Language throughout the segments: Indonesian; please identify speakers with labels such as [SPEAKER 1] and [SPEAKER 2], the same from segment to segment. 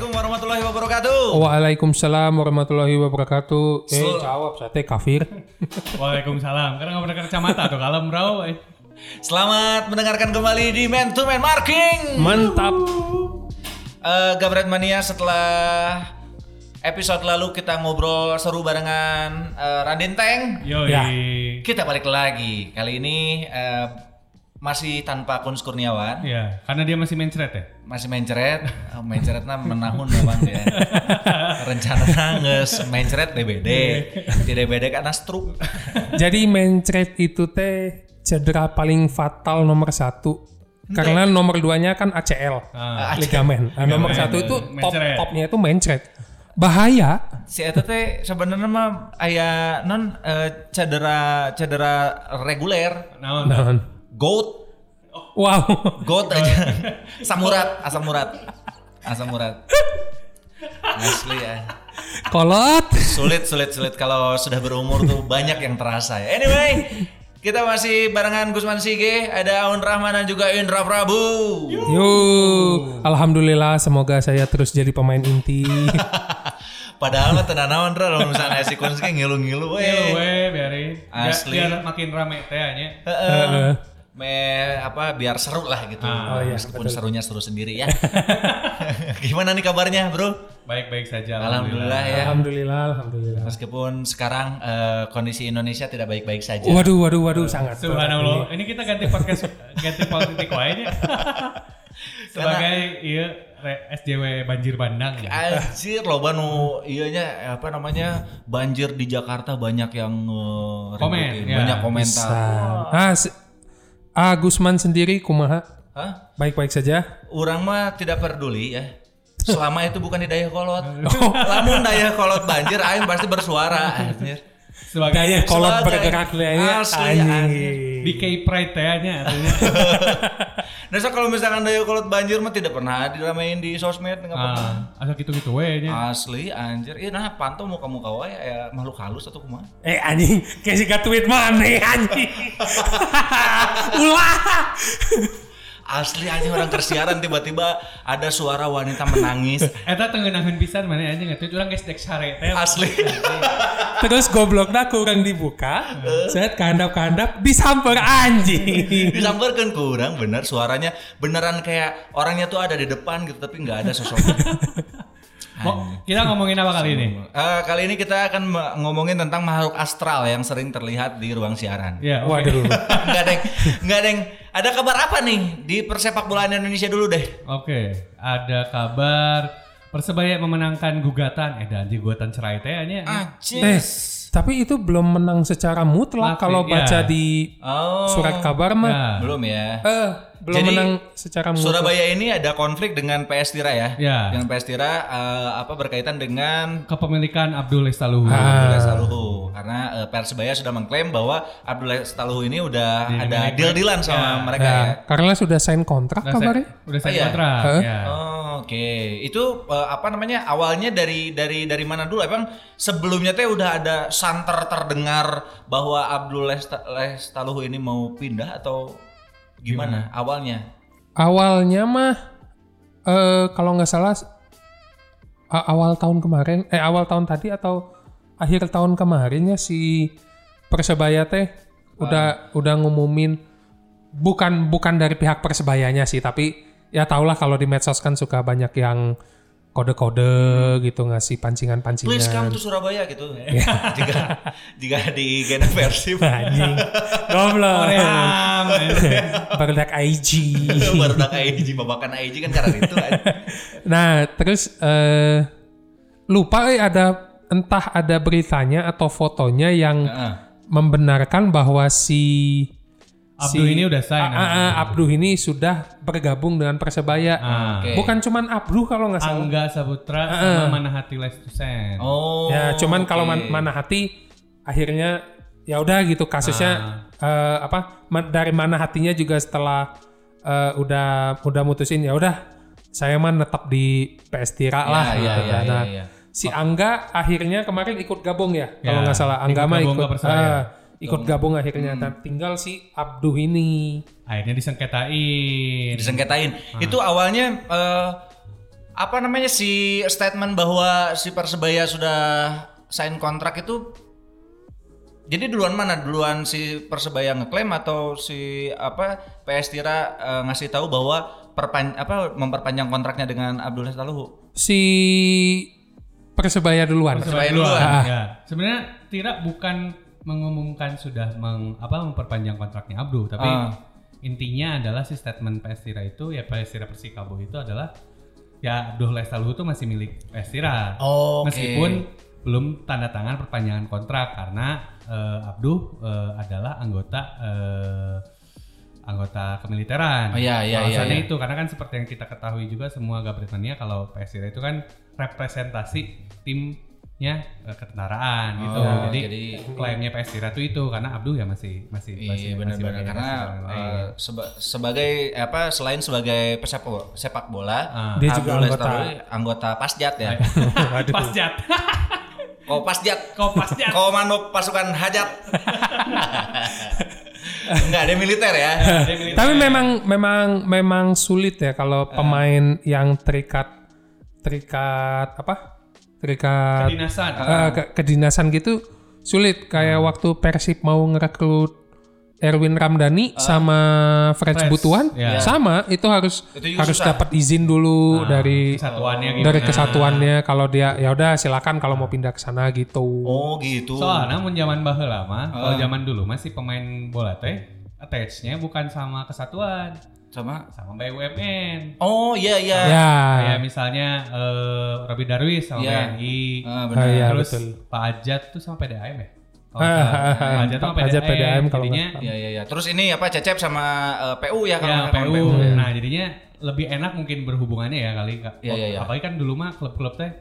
[SPEAKER 1] warahmatullahi wabarakatuh.
[SPEAKER 2] Waalaikumsalam warahmatullahi wabarakatuh. Eh,
[SPEAKER 1] Sel-
[SPEAKER 2] jawab sate kafir.
[SPEAKER 3] Waalaikumsalam. Karena nggak pernah ke kacamata tuh kalem raw. eh.
[SPEAKER 1] Selamat mendengarkan kembali di Man to Man Marking.
[SPEAKER 2] Mantap.
[SPEAKER 1] Eh, Gabret Mania setelah episode lalu kita ngobrol seru barengan eh, Raden Teng.
[SPEAKER 3] Yoi.
[SPEAKER 2] Ya.
[SPEAKER 1] Kita balik lagi. Kali ini eh, masih tanpa Kuns Kurniawan.
[SPEAKER 3] Ya, karena dia masih mencret ya.
[SPEAKER 1] Masih mencret, Oh, mencretnya menahun memang ya. Rencana nges mencret DBD. Di DBD karena stroke.
[SPEAKER 2] Jadi mencret itu teh cedera paling fatal nomor satu. Karena nomor duanya kan ACL,
[SPEAKER 3] Ah.
[SPEAKER 2] ligamen. Nah, nomor satu itu top
[SPEAKER 3] Mencret.
[SPEAKER 2] topnya itu mencret. Bahaya.
[SPEAKER 1] si eta teh sebenarnya mah aya non eh, cedera cedera reguler
[SPEAKER 3] Nah,
[SPEAKER 2] Naon.
[SPEAKER 1] goat
[SPEAKER 2] Wow.
[SPEAKER 1] goat aja samurat asam urat asam urat asli ya
[SPEAKER 2] Kolot.
[SPEAKER 1] sulit sulit sulit kalau sudah berumur tuh banyak yang terasa ya anyway kita masih barengan Gusman Sige ada Aun Rahman dan juga Indra Prabu
[SPEAKER 2] Yuk. Alhamdulillah semoga saya terus jadi pemain inti.
[SPEAKER 1] padahal mah tenan naon Ra, lamun misalnya si Kunz kayak ngilu-ngilu
[SPEAKER 3] ya lu,
[SPEAKER 1] weh
[SPEAKER 3] weh, biarin. Biar-
[SPEAKER 1] Asli.
[SPEAKER 3] Biar, makin rame teh nya.
[SPEAKER 2] Heeh.
[SPEAKER 1] me apa biar seru lah gitu.
[SPEAKER 3] Ah,
[SPEAKER 2] oh iya,
[SPEAKER 1] Meskipun serunya seru sendiri ya. Gimana nih kabarnya, Bro?
[SPEAKER 3] Baik-baik saja.
[SPEAKER 1] Alhamdulillah ya.
[SPEAKER 2] alhamdulillah, alhamdulillah.
[SPEAKER 1] Meskipun sekarang eh, kondisi Indonesia tidak baik-baik saja.
[SPEAKER 2] Waduh, waduh, waduh, sangat.
[SPEAKER 3] Subhanallah. Ini kita ganti podcast ganti politik wae nya. Sebagai iya re- SJW banjir bandang ya.
[SPEAKER 1] Anjir loba nu iyanya apa namanya? Banjir di Jakarta banyak yang eh,
[SPEAKER 3] Komen,
[SPEAKER 1] ributin,
[SPEAKER 3] ya.
[SPEAKER 1] banyak komentar.
[SPEAKER 2] Pisan. Ah, se- ah, Gusman sendiri kumaha?
[SPEAKER 1] Hah?
[SPEAKER 2] Baik-baik saja.
[SPEAKER 1] Orang mah tidak peduli ya. Selama itu bukan di daya kolot.
[SPEAKER 2] Oh.
[SPEAKER 1] Lamun daya kolot banjir aing pasti bersuara anjir.
[SPEAKER 3] Sebagai
[SPEAKER 2] Gaya kolot
[SPEAKER 1] Sebagai-
[SPEAKER 2] bergerak kayaknya
[SPEAKER 1] Asli,
[SPEAKER 2] anjing.
[SPEAKER 3] BK Pride teh nya artinya.
[SPEAKER 1] Nah, so kalau misalkan daya kolot banjir mah tidak pernah diramein di sosmed nggak pernah.
[SPEAKER 3] Ah, asal gitu-gitu wae nya.
[SPEAKER 1] Asli anjir. Iya nah pantau muka muka wae ya makhluk halus atau kumaha.
[SPEAKER 2] Eh anjing, kayak si tweet mana anjing. Ulah.
[SPEAKER 1] Asli anjing orang tersiaran tiba-tiba ada suara wanita menangis.
[SPEAKER 3] Eta tengenahin pisan mana aja nggak tuh orang guys dek sare teh.
[SPEAKER 1] Asli.
[SPEAKER 2] Terus gobloknya kurang dibuka, set kandap-kandap disamper anjing.
[SPEAKER 1] Disamperkan kurang bener suaranya beneran kayak orangnya tuh ada di depan gitu tapi nggak ada sosoknya.
[SPEAKER 3] Mo- kita ngomongin apa kali ini?
[SPEAKER 1] Eh, kali ini kita akan me- ngomongin tentang makhluk astral yang sering terlihat di ruang siaran.
[SPEAKER 3] Ya, oke.
[SPEAKER 2] Waduh.
[SPEAKER 1] Enggak, Deng. Enggak, Deng. Ada kabar apa nih di persepak bolaan Indonesia dulu deh?
[SPEAKER 3] Oke, ada kabar Persebaya memenangkan gugatan eh dan gugatan cerai teh nya.
[SPEAKER 1] Ah.
[SPEAKER 2] Eh,
[SPEAKER 1] Anjir.
[SPEAKER 2] tapi itu belum menang secara mutlak
[SPEAKER 3] Mutlak,
[SPEAKER 2] kalau
[SPEAKER 3] iya.
[SPEAKER 2] baca di
[SPEAKER 1] Oh.
[SPEAKER 2] surat kabar mah.
[SPEAKER 3] Ya.
[SPEAKER 1] Belum ya.
[SPEAKER 2] Eh, belum
[SPEAKER 1] Jadi,
[SPEAKER 2] menang secara mutlak.
[SPEAKER 1] Surabaya ini ada konflik dengan PS Tira ya.
[SPEAKER 3] Ya.
[SPEAKER 1] Dengan PS Tira eh, apa berkaitan dengan
[SPEAKER 3] Kepemilikan Abdul Lesta Luhur.
[SPEAKER 2] Ah.
[SPEAKER 1] Abdullah Saluhu karena eh, Persebaya sudah mengklaim bahwa Abdullah Saluhu ini udah ada deal-dealan sama mereka
[SPEAKER 2] Ya,
[SPEAKER 1] ya.
[SPEAKER 2] karena sudah sign kontrak
[SPEAKER 3] Udah saya-
[SPEAKER 2] kabarnya.
[SPEAKER 3] Udah saya
[SPEAKER 1] Oh, iya?
[SPEAKER 3] kontrak. Ya.
[SPEAKER 1] Oh, Oke, itu eh, apa namanya awalnya dari dari dari mana dulu? Emang sebelumnya teh udah ada santer terdengar bahwa Abdul Lesta- Lestaluhu ini mau pindah atau gimana, awalnya?
[SPEAKER 2] Awalnya mah eh kalau nggak salah a- awal tahun kemarin eh awal tahun tadi atau akhir tahun kemarinnya si Persebaya teh udah udah ngumumin bukan bukan dari pihak Persebayanya sih tapi ya tahulah kalau di medsos kan suka banyak yang kode-kode gitu ngasih pancingan-pancingan.
[SPEAKER 1] Please come to Surabaya gitu.
[SPEAKER 2] Iya.
[SPEAKER 1] jika jika di Gena Persib
[SPEAKER 2] Anjing. Goblok.
[SPEAKER 3] Eh, Koream.
[SPEAKER 2] Berdak IG.
[SPEAKER 1] baru udah kayak hiji babakan AIG kan karena itu kan.
[SPEAKER 2] Nah, terus eh lupa eh ada entah ada beritanya atau fotonya yang
[SPEAKER 1] Heeh.
[SPEAKER 2] membenarkan bahwa si
[SPEAKER 3] Abdul ini udah sign.
[SPEAKER 1] nah.
[SPEAKER 2] A- A- A- Abduh ini sudah bergabung dengan Persebaya.
[SPEAKER 3] Ah.
[SPEAKER 1] Oke.
[SPEAKER 2] Bukan cuman Abduh kalau nggak salah.
[SPEAKER 3] Angga Saputra sama Manahati Lestusen.
[SPEAKER 1] Oh.
[SPEAKER 2] ya, cuman kalau
[SPEAKER 1] oke.
[SPEAKER 2] man- mana hati akhirnya ya udah gitu kasusnya
[SPEAKER 1] Ah.
[SPEAKER 2] eh, apa ma- dari mana hatinya juga setelah eh, udah udah mutusin ya udah saya mah tetap di PS
[SPEAKER 1] Ya,
[SPEAKER 2] Tira lah
[SPEAKER 1] ya,
[SPEAKER 2] gitu.
[SPEAKER 1] ya,
[SPEAKER 2] Nah,
[SPEAKER 1] ya, ya.
[SPEAKER 2] si Angga akhirnya kemarin ikut gabung ya,
[SPEAKER 3] Ya,
[SPEAKER 2] kalau nggak salah Angga
[SPEAKER 3] ikut
[SPEAKER 2] mah
[SPEAKER 3] gabung
[SPEAKER 2] ikut
[SPEAKER 3] ke Persebaya.
[SPEAKER 2] ah, ikut gabung akhirnya Nah, tinggal si Abduh ini
[SPEAKER 3] Akhirnya disengketain.
[SPEAKER 1] disengketain. Itu awalnya eh, apa namanya si statement bahwa si Persebaya sudah sign kontrak itu jadi duluan mana duluan si Persebaya ngeklaim atau si apa PS Tira eh, ngasih tahu bahwa perpan apa memperpanjang kontraknya dengan Abdul Taluhu
[SPEAKER 2] Si Persebaya duluan.
[SPEAKER 1] Persebaya
[SPEAKER 3] Sebagai duluan.
[SPEAKER 1] duluan.
[SPEAKER 3] Ya. Sebenarnya Tira bukan mengumumkan sudah meng, apa memperpanjang kontraknya Abdu, tapi
[SPEAKER 1] Ah.
[SPEAKER 3] intinya adalah si statement PS Tira itu ya PS Tira Persikabo itu adalah ya Abdul Lestaluhu itu masih milik PS Tira.
[SPEAKER 1] Oh,
[SPEAKER 3] Meskipun belum tanda tangan perpanjangan kontrak karena eh, Abdu eh, adalah anggota eh, anggota kemiliteran.
[SPEAKER 1] Oh, iya, iya, iya, iya.
[SPEAKER 3] Alasannya itu karena kan seperti yang kita ketahui juga semua Gabritania kalau PSIRA itu kan representasi timnya eh, ketentaraan gitu.
[SPEAKER 1] Oh,
[SPEAKER 3] jadi,
[SPEAKER 1] jadi-
[SPEAKER 3] klaimnya PSIRA itu itu karena Abdu ya masih masih
[SPEAKER 1] Iya benar-benar
[SPEAKER 3] pakai
[SPEAKER 1] karena
[SPEAKER 3] orang
[SPEAKER 1] eh,
[SPEAKER 3] lain.
[SPEAKER 1] seba- sebagai apa selain sebagai pesepak bo- sepak bola
[SPEAKER 3] Ah.
[SPEAKER 2] Dia juga
[SPEAKER 1] Abdul
[SPEAKER 2] anggota.
[SPEAKER 1] Lestaluhu anggota Pasjat ya.
[SPEAKER 2] Waduh.
[SPEAKER 3] Pasjat.
[SPEAKER 1] Kau Pasjat,
[SPEAKER 3] Kau pasjat.
[SPEAKER 1] Komando pasukan hajat. Enggak, dia militer ya.
[SPEAKER 3] Dia milih-
[SPEAKER 2] Tapi memang memang memang sulit ya kalau pemain yang terikat terikat apa? Terikat
[SPEAKER 3] kedinasan.
[SPEAKER 2] eh, ke- kedinasan gitu sulit kayak waktu Persib mau ngerekrut Erwin Ramdhani sama Frans
[SPEAKER 3] Frans,
[SPEAKER 2] Butuan
[SPEAKER 3] ya.
[SPEAKER 2] sama itu harus
[SPEAKER 1] Itu juga
[SPEAKER 2] harus
[SPEAKER 1] susah.
[SPEAKER 2] dapat izin dulu dari
[SPEAKER 3] kesatuannya gitu.
[SPEAKER 2] dari kesatuannya kalau dia ya udah silakan kalau mau pindah ke sana gitu.
[SPEAKER 1] Oh, gitu.
[SPEAKER 3] Soalnya mun zaman
[SPEAKER 1] Ah.
[SPEAKER 3] baheula mah, kalau zaman dulu masih pemain bola teh attach-nya bukan sama kesatuan,
[SPEAKER 1] Sama
[SPEAKER 3] sama BUMN.
[SPEAKER 1] Oh, iya iya.
[SPEAKER 2] Ya.
[SPEAKER 3] Kayak misalnya eh, Robby Darwis sama
[SPEAKER 1] Iya.
[SPEAKER 3] BNI.
[SPEAKER 1] Ah, benar.
[SPEAKER 2] Ah, iya,
[SPEAKER 3] Terus
[SPEAKER 2] betul.
[SPEAKER 3] Pak Ajat tuh sama PDAM ya? Kalau
[SPEAKER 2] Ah,
[SPEAKER 3] nggak salah.
[SPEAKER 2] ah, ah,
[SPEAKER 3] Pak Ajat sama
[SPEAKER 2] Pak
[SPEAKER 3] PDAM.
[SPEAKER 2] Ajat PDAM kalau
[SPEAKER 3] jadinya
[SPEAKER 2] nggak
[SPEAKER 1] Iya iya iya. Terus ini apa Cecep sama eh, PU ya
[SPEAKER 3] ya
[SPEAKER 1] kalau nggak
[SPEAKER 3] PU.
[SPEAKER 1] salah, ya.
[SPEAKER 3] Nah, jadinya lebih enak mungkin berhubungannya ya kali. Kak.
[SPEAKER 1] Iya, iya, iya.
[SPEAKER 3] Apalagi kan dulu mah klub-klub teh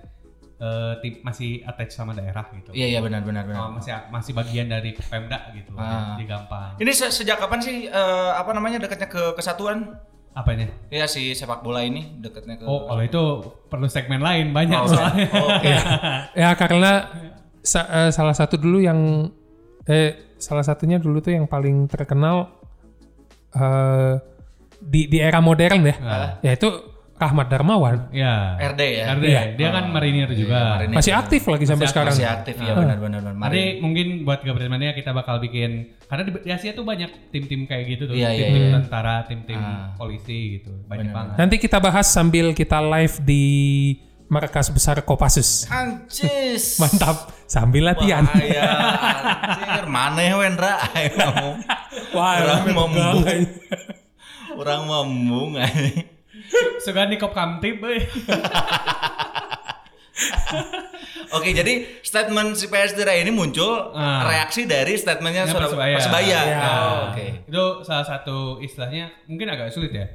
[SPEAKER 3] eh, tim- masih attach sama daerah gitu.
[SPEAKER 1] Iya iya benar benar benar.
[SPEAKER 3] Oh, masih masih bagian dari Pemda gitu.
[SPEAKER 1] Ah.
[SPEAKER 3] Jadi gampang.
[SPEAKER 1] Ini se- sejak kapan sih eh, apa namanya dekatnya ke kesatuan?
[SPEAKER 3] Apanya?
[SPEAKER 1] Ya si sepak bola ini dekatnya ke
[SPEAKER 3] Oh, kalau itu perlu segmen lain banyak
[SPEAKER 1] Oh,
[SPEAKER 3] soalnya. Iya.
[SPEAKER 1] oke.
[SPEAKER 2] Ya karena sa- eh, salah satu dulu yang eh salah satunya dulu tuh yang paling terkenal eh di di era modern ya, yaitu Rahmat Darmawan
[SPEAKER 3] Ya.
[SPEAKER 1] RD ya.
[SPEAKER 3] RD.
[SPEAKER 2] Iya.
[SPEAKER 3] Dia kan marinir juga.
[SPEAKER 1] Marinir.
[SPEAKER 2] masih aktif lagi sampai sekarang.
[SPEAKER 1] Masih aktif ya
[SPEAKER 3] Ah.
[SPEAKER 1] benar-benar. benar.
[SPEAKER 3] Nanti
[SPEAKER 1] Mari.
[SPEAKER 3] mungkin buat Gabriel Mania kita bakal bikin karena di, di Asia tuh banyak tim-tim kayak gitu tuh,
[SPEAKER 1] Iya, Ah. iya,
[SPEAKER 3] tim-tim
[SPEAKER 2] iya.
[SPEAKER 3] tentara, tim-tim polisi gitu, banyak banget.
[SPEAKER 2] Nanti kita bahas sambil kita live di markas besar Kopassus.
[SPEAKER 1] Ancis.
[SPEAKER 2] Mantap sambil latihan.
[SPEAKER 1] Wah, ya, anjir, maneh Wendra ayo ngomong.
[SPEAKER 2] Wah,
[SPEAKER 1] Orang
[SPEAKER 2] rame
[SPEAKER 1] membung.
[SPEAKER 2] banget.
[SPEAKER 1] Orang membung anjing.
[SPEAKER 3] Sugan di Kop Kamtip euy.
[SPEAKER 1] Kan Oke, jadi statement si PS Tira ini muncul
[SPEAKER 3] Ah.
[SPEAKER 1] reaksi dari statementnya
[SPEAKER 3] Ya,
[SPEAKER 1] Surab-
[SPEAKER 3] Persebaya.
[SPEAKER 1] Persebaya.
[SPEAKER 2] Ya.
[SPEAKER 1] Oh, Oke.
[SPEAKER 3] Itu salah satu istilahnya mungkin agak sulit ya.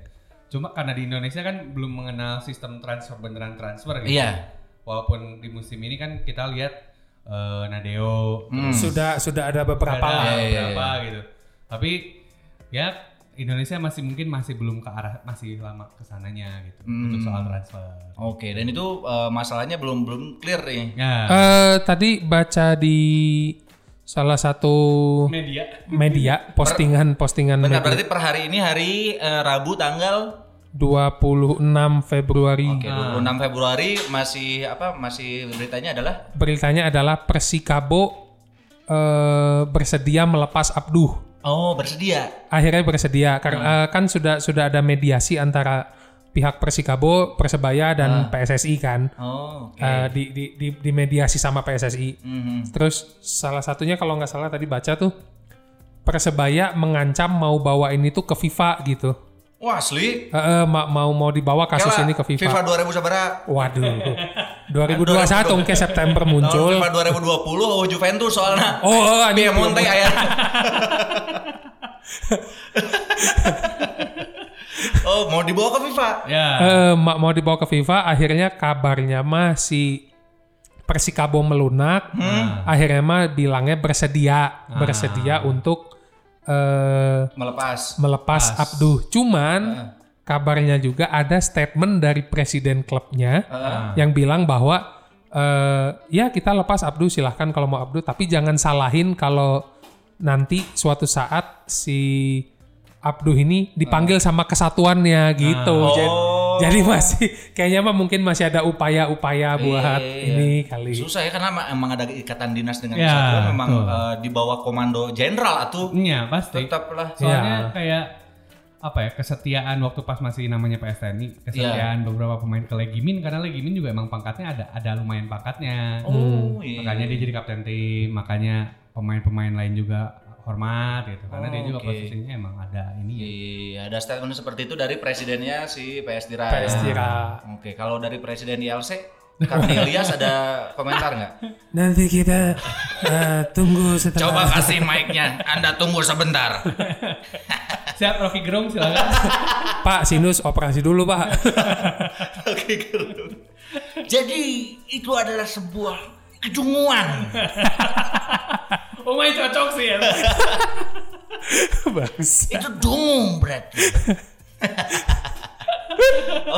[SPEAKER 3] Cuma karena di Indonesia kan belum mengenal sistem transfer beneran transfer gitu.
[SPEAKER 1] Iya.
[SPEAKER 3] Walaupun di musim ini kan kita lihat eh, Nadeo
[SPEAKER 1] Hmm.
[SPEAKER 2] Sudah sudah ada beberapa
[SPEAKER 3] berapa
[SPEAKER 2] lah.
[SPEAKER 1] Iya, iya,
[SPEAKER 3] berapa gitu. Tapi ya Indonesia masih mungkin masih belum ke arah masih lama kesananya gitu
[SPEAKER 1] Hmm.
[SPEAKER 3] untuk soal transfer.
[SPEAKER 1] Oke, dan itu eh, masalahnya belum belum clear nih.
[SPEAKER 3] Ya,
[SPEAKER 2] Eh, tadi baca di salah satu
[SPEAKER 3] media
[SPEAKER 2] media postingan postingan
[SPEAKER 1] Bentar,
[SPEAKER 2] media
[SPEAKER 1] berarti per hari ini hari eh, Rabu tanggal
[SPEAKER 2] 26 Februari
[SPEAKER 1] Oke, 26 Februari masih apa masih beritanya adalah
[SPEAKER 2] beritanya adalah Persikabo eh, bersedia melepas Abduh
[SPEAKER 1] oh bersedia.
[SPEAKER 2] akhirnya bersedia karena eh, kan sudah sudah ada mediasi antara pihak Persikabo Persebaya dan PSSI kan
[SPEAKER 1] Oh, oke.
[SPEAKER 2] Eh, di, di, di, di mediasi sama PSSI
[SPEAKER 1] Mhm.
[SPEAKER 2] terus salah satunya kalau nggak salah tadi baca tuh Persebaya mengancam mau bawa ini tuh ke FIFA gitu
[SPEAKER 1] Wah, asli.
[SPEAKER 2] Eh, eh, ma- mau mau dibawa kasus
[SPEAKER 1] Kela,
[SPEAKER 2] ini ke FIFA
[SPEAKER 1] FIFA 2000 sabaraha?
[SPEAKER 2] Waduh. 2021 ke September
[SPEAKER 1] Tahun
[SPEAKER 2] muncul.
[SPEAKER 1] FIFA 2020 oh Juventus soalnya.
[SPEAKER 2] Oh, oh anjing.
[SPEAKER 1] Piemonte aya. oh, mau dibawa ke FIFA.
[SPEAKER 3] ya
[SPEAKER 2] Eh, ma- mau dibawa ke FIFA akhirnya kabarnya mah si Persikabo melunak. Akhirnya mah bilangnya bersedia, bersedia untuk eh
[SPEAKER 1] Melepas.
[SPEAKER 2] melepas Abduh. Cuman kabarnya juga ada statement dari presiden klubnya yang bilang bahwa eh, ya kita lepas Abduh silahkan kalau mau Abduh tapi jangan salahin kalau nanti suatu saat si Abduh ini dipanggil sama kesatuannya gitu. Jadi,
[SPEAKER 1] Oh, Oh.
[SPEAKER 2] Jadi masih kayaknya mah mungkin masih ada upaya-upaya buat
[SPEAKER 1] iya, iya.
[SPEAKER 2] ini kali.
[SPEAKER 1] Susah ya karena emang- emang ada ikatan dinas dengan
[SPEAKER 3] Ya,
[SPEAKER 1] kesatuan memang
[SPEAKER 3] betul.
[SPEAKER 1] eh, di bawah komando jenderal atuh
[SPEAKER 3] Iya pasti.
[SPEAKER 1] tetaplah.
[SPEAKER 2] Iya.
[SPEAKER 3] Soalnya kayak apa ya kesetiaan waktu pas masih namanya PS TNI kesetiaan
[SPEAKER 1] Iya.
[SPEAKER 3] beberapa pemain ke Legimin karena Legimin juga emang pangkatnya ada ada lumayan
[SPEAKER 2] Hmm.
[SPEAKER 3] pangkatnya
[SPEAKER 1] Oh, iya.
[SPEAKER 3] makanya dia jadi kapten tim makanya pemain-pemain lain juga hormat gitu
[SPEAKER 1] Oh,
[SPEAKER 3] karena dia juga
[SPEAKER 1] oke.
[SPEAKER 3] posisinya emang ada ini ya
[SPEAKER 1] Iya, ada statement seperti itu dari presidennya si PS Dira.
[SPEAKER 2] PS Dira.
[SPEAKER 1] ya. Oke, kalau dari presiden ILC, Kang Ilyas ada komentar nggak?
[SPEAKER 2] Nanti kita eh, tunggu setelah.
[SPEAKER 1] Coba kan? kasih mic-nya. Anda tunggu sebentar.
[SPEAKER 3] siap Rocky Gerung silakan
[SPEAKER 2] Pak Sinus operasi dulu Pak.
[SPEAKER 1] Oke, Gerung. Jadi itu adalah sebuah kejunguan.
[SPEAKER 3] oh my cocok sih ya
[SPEAKER 2] Bagus.
[SPEAKER 1] Itu dungu berarti.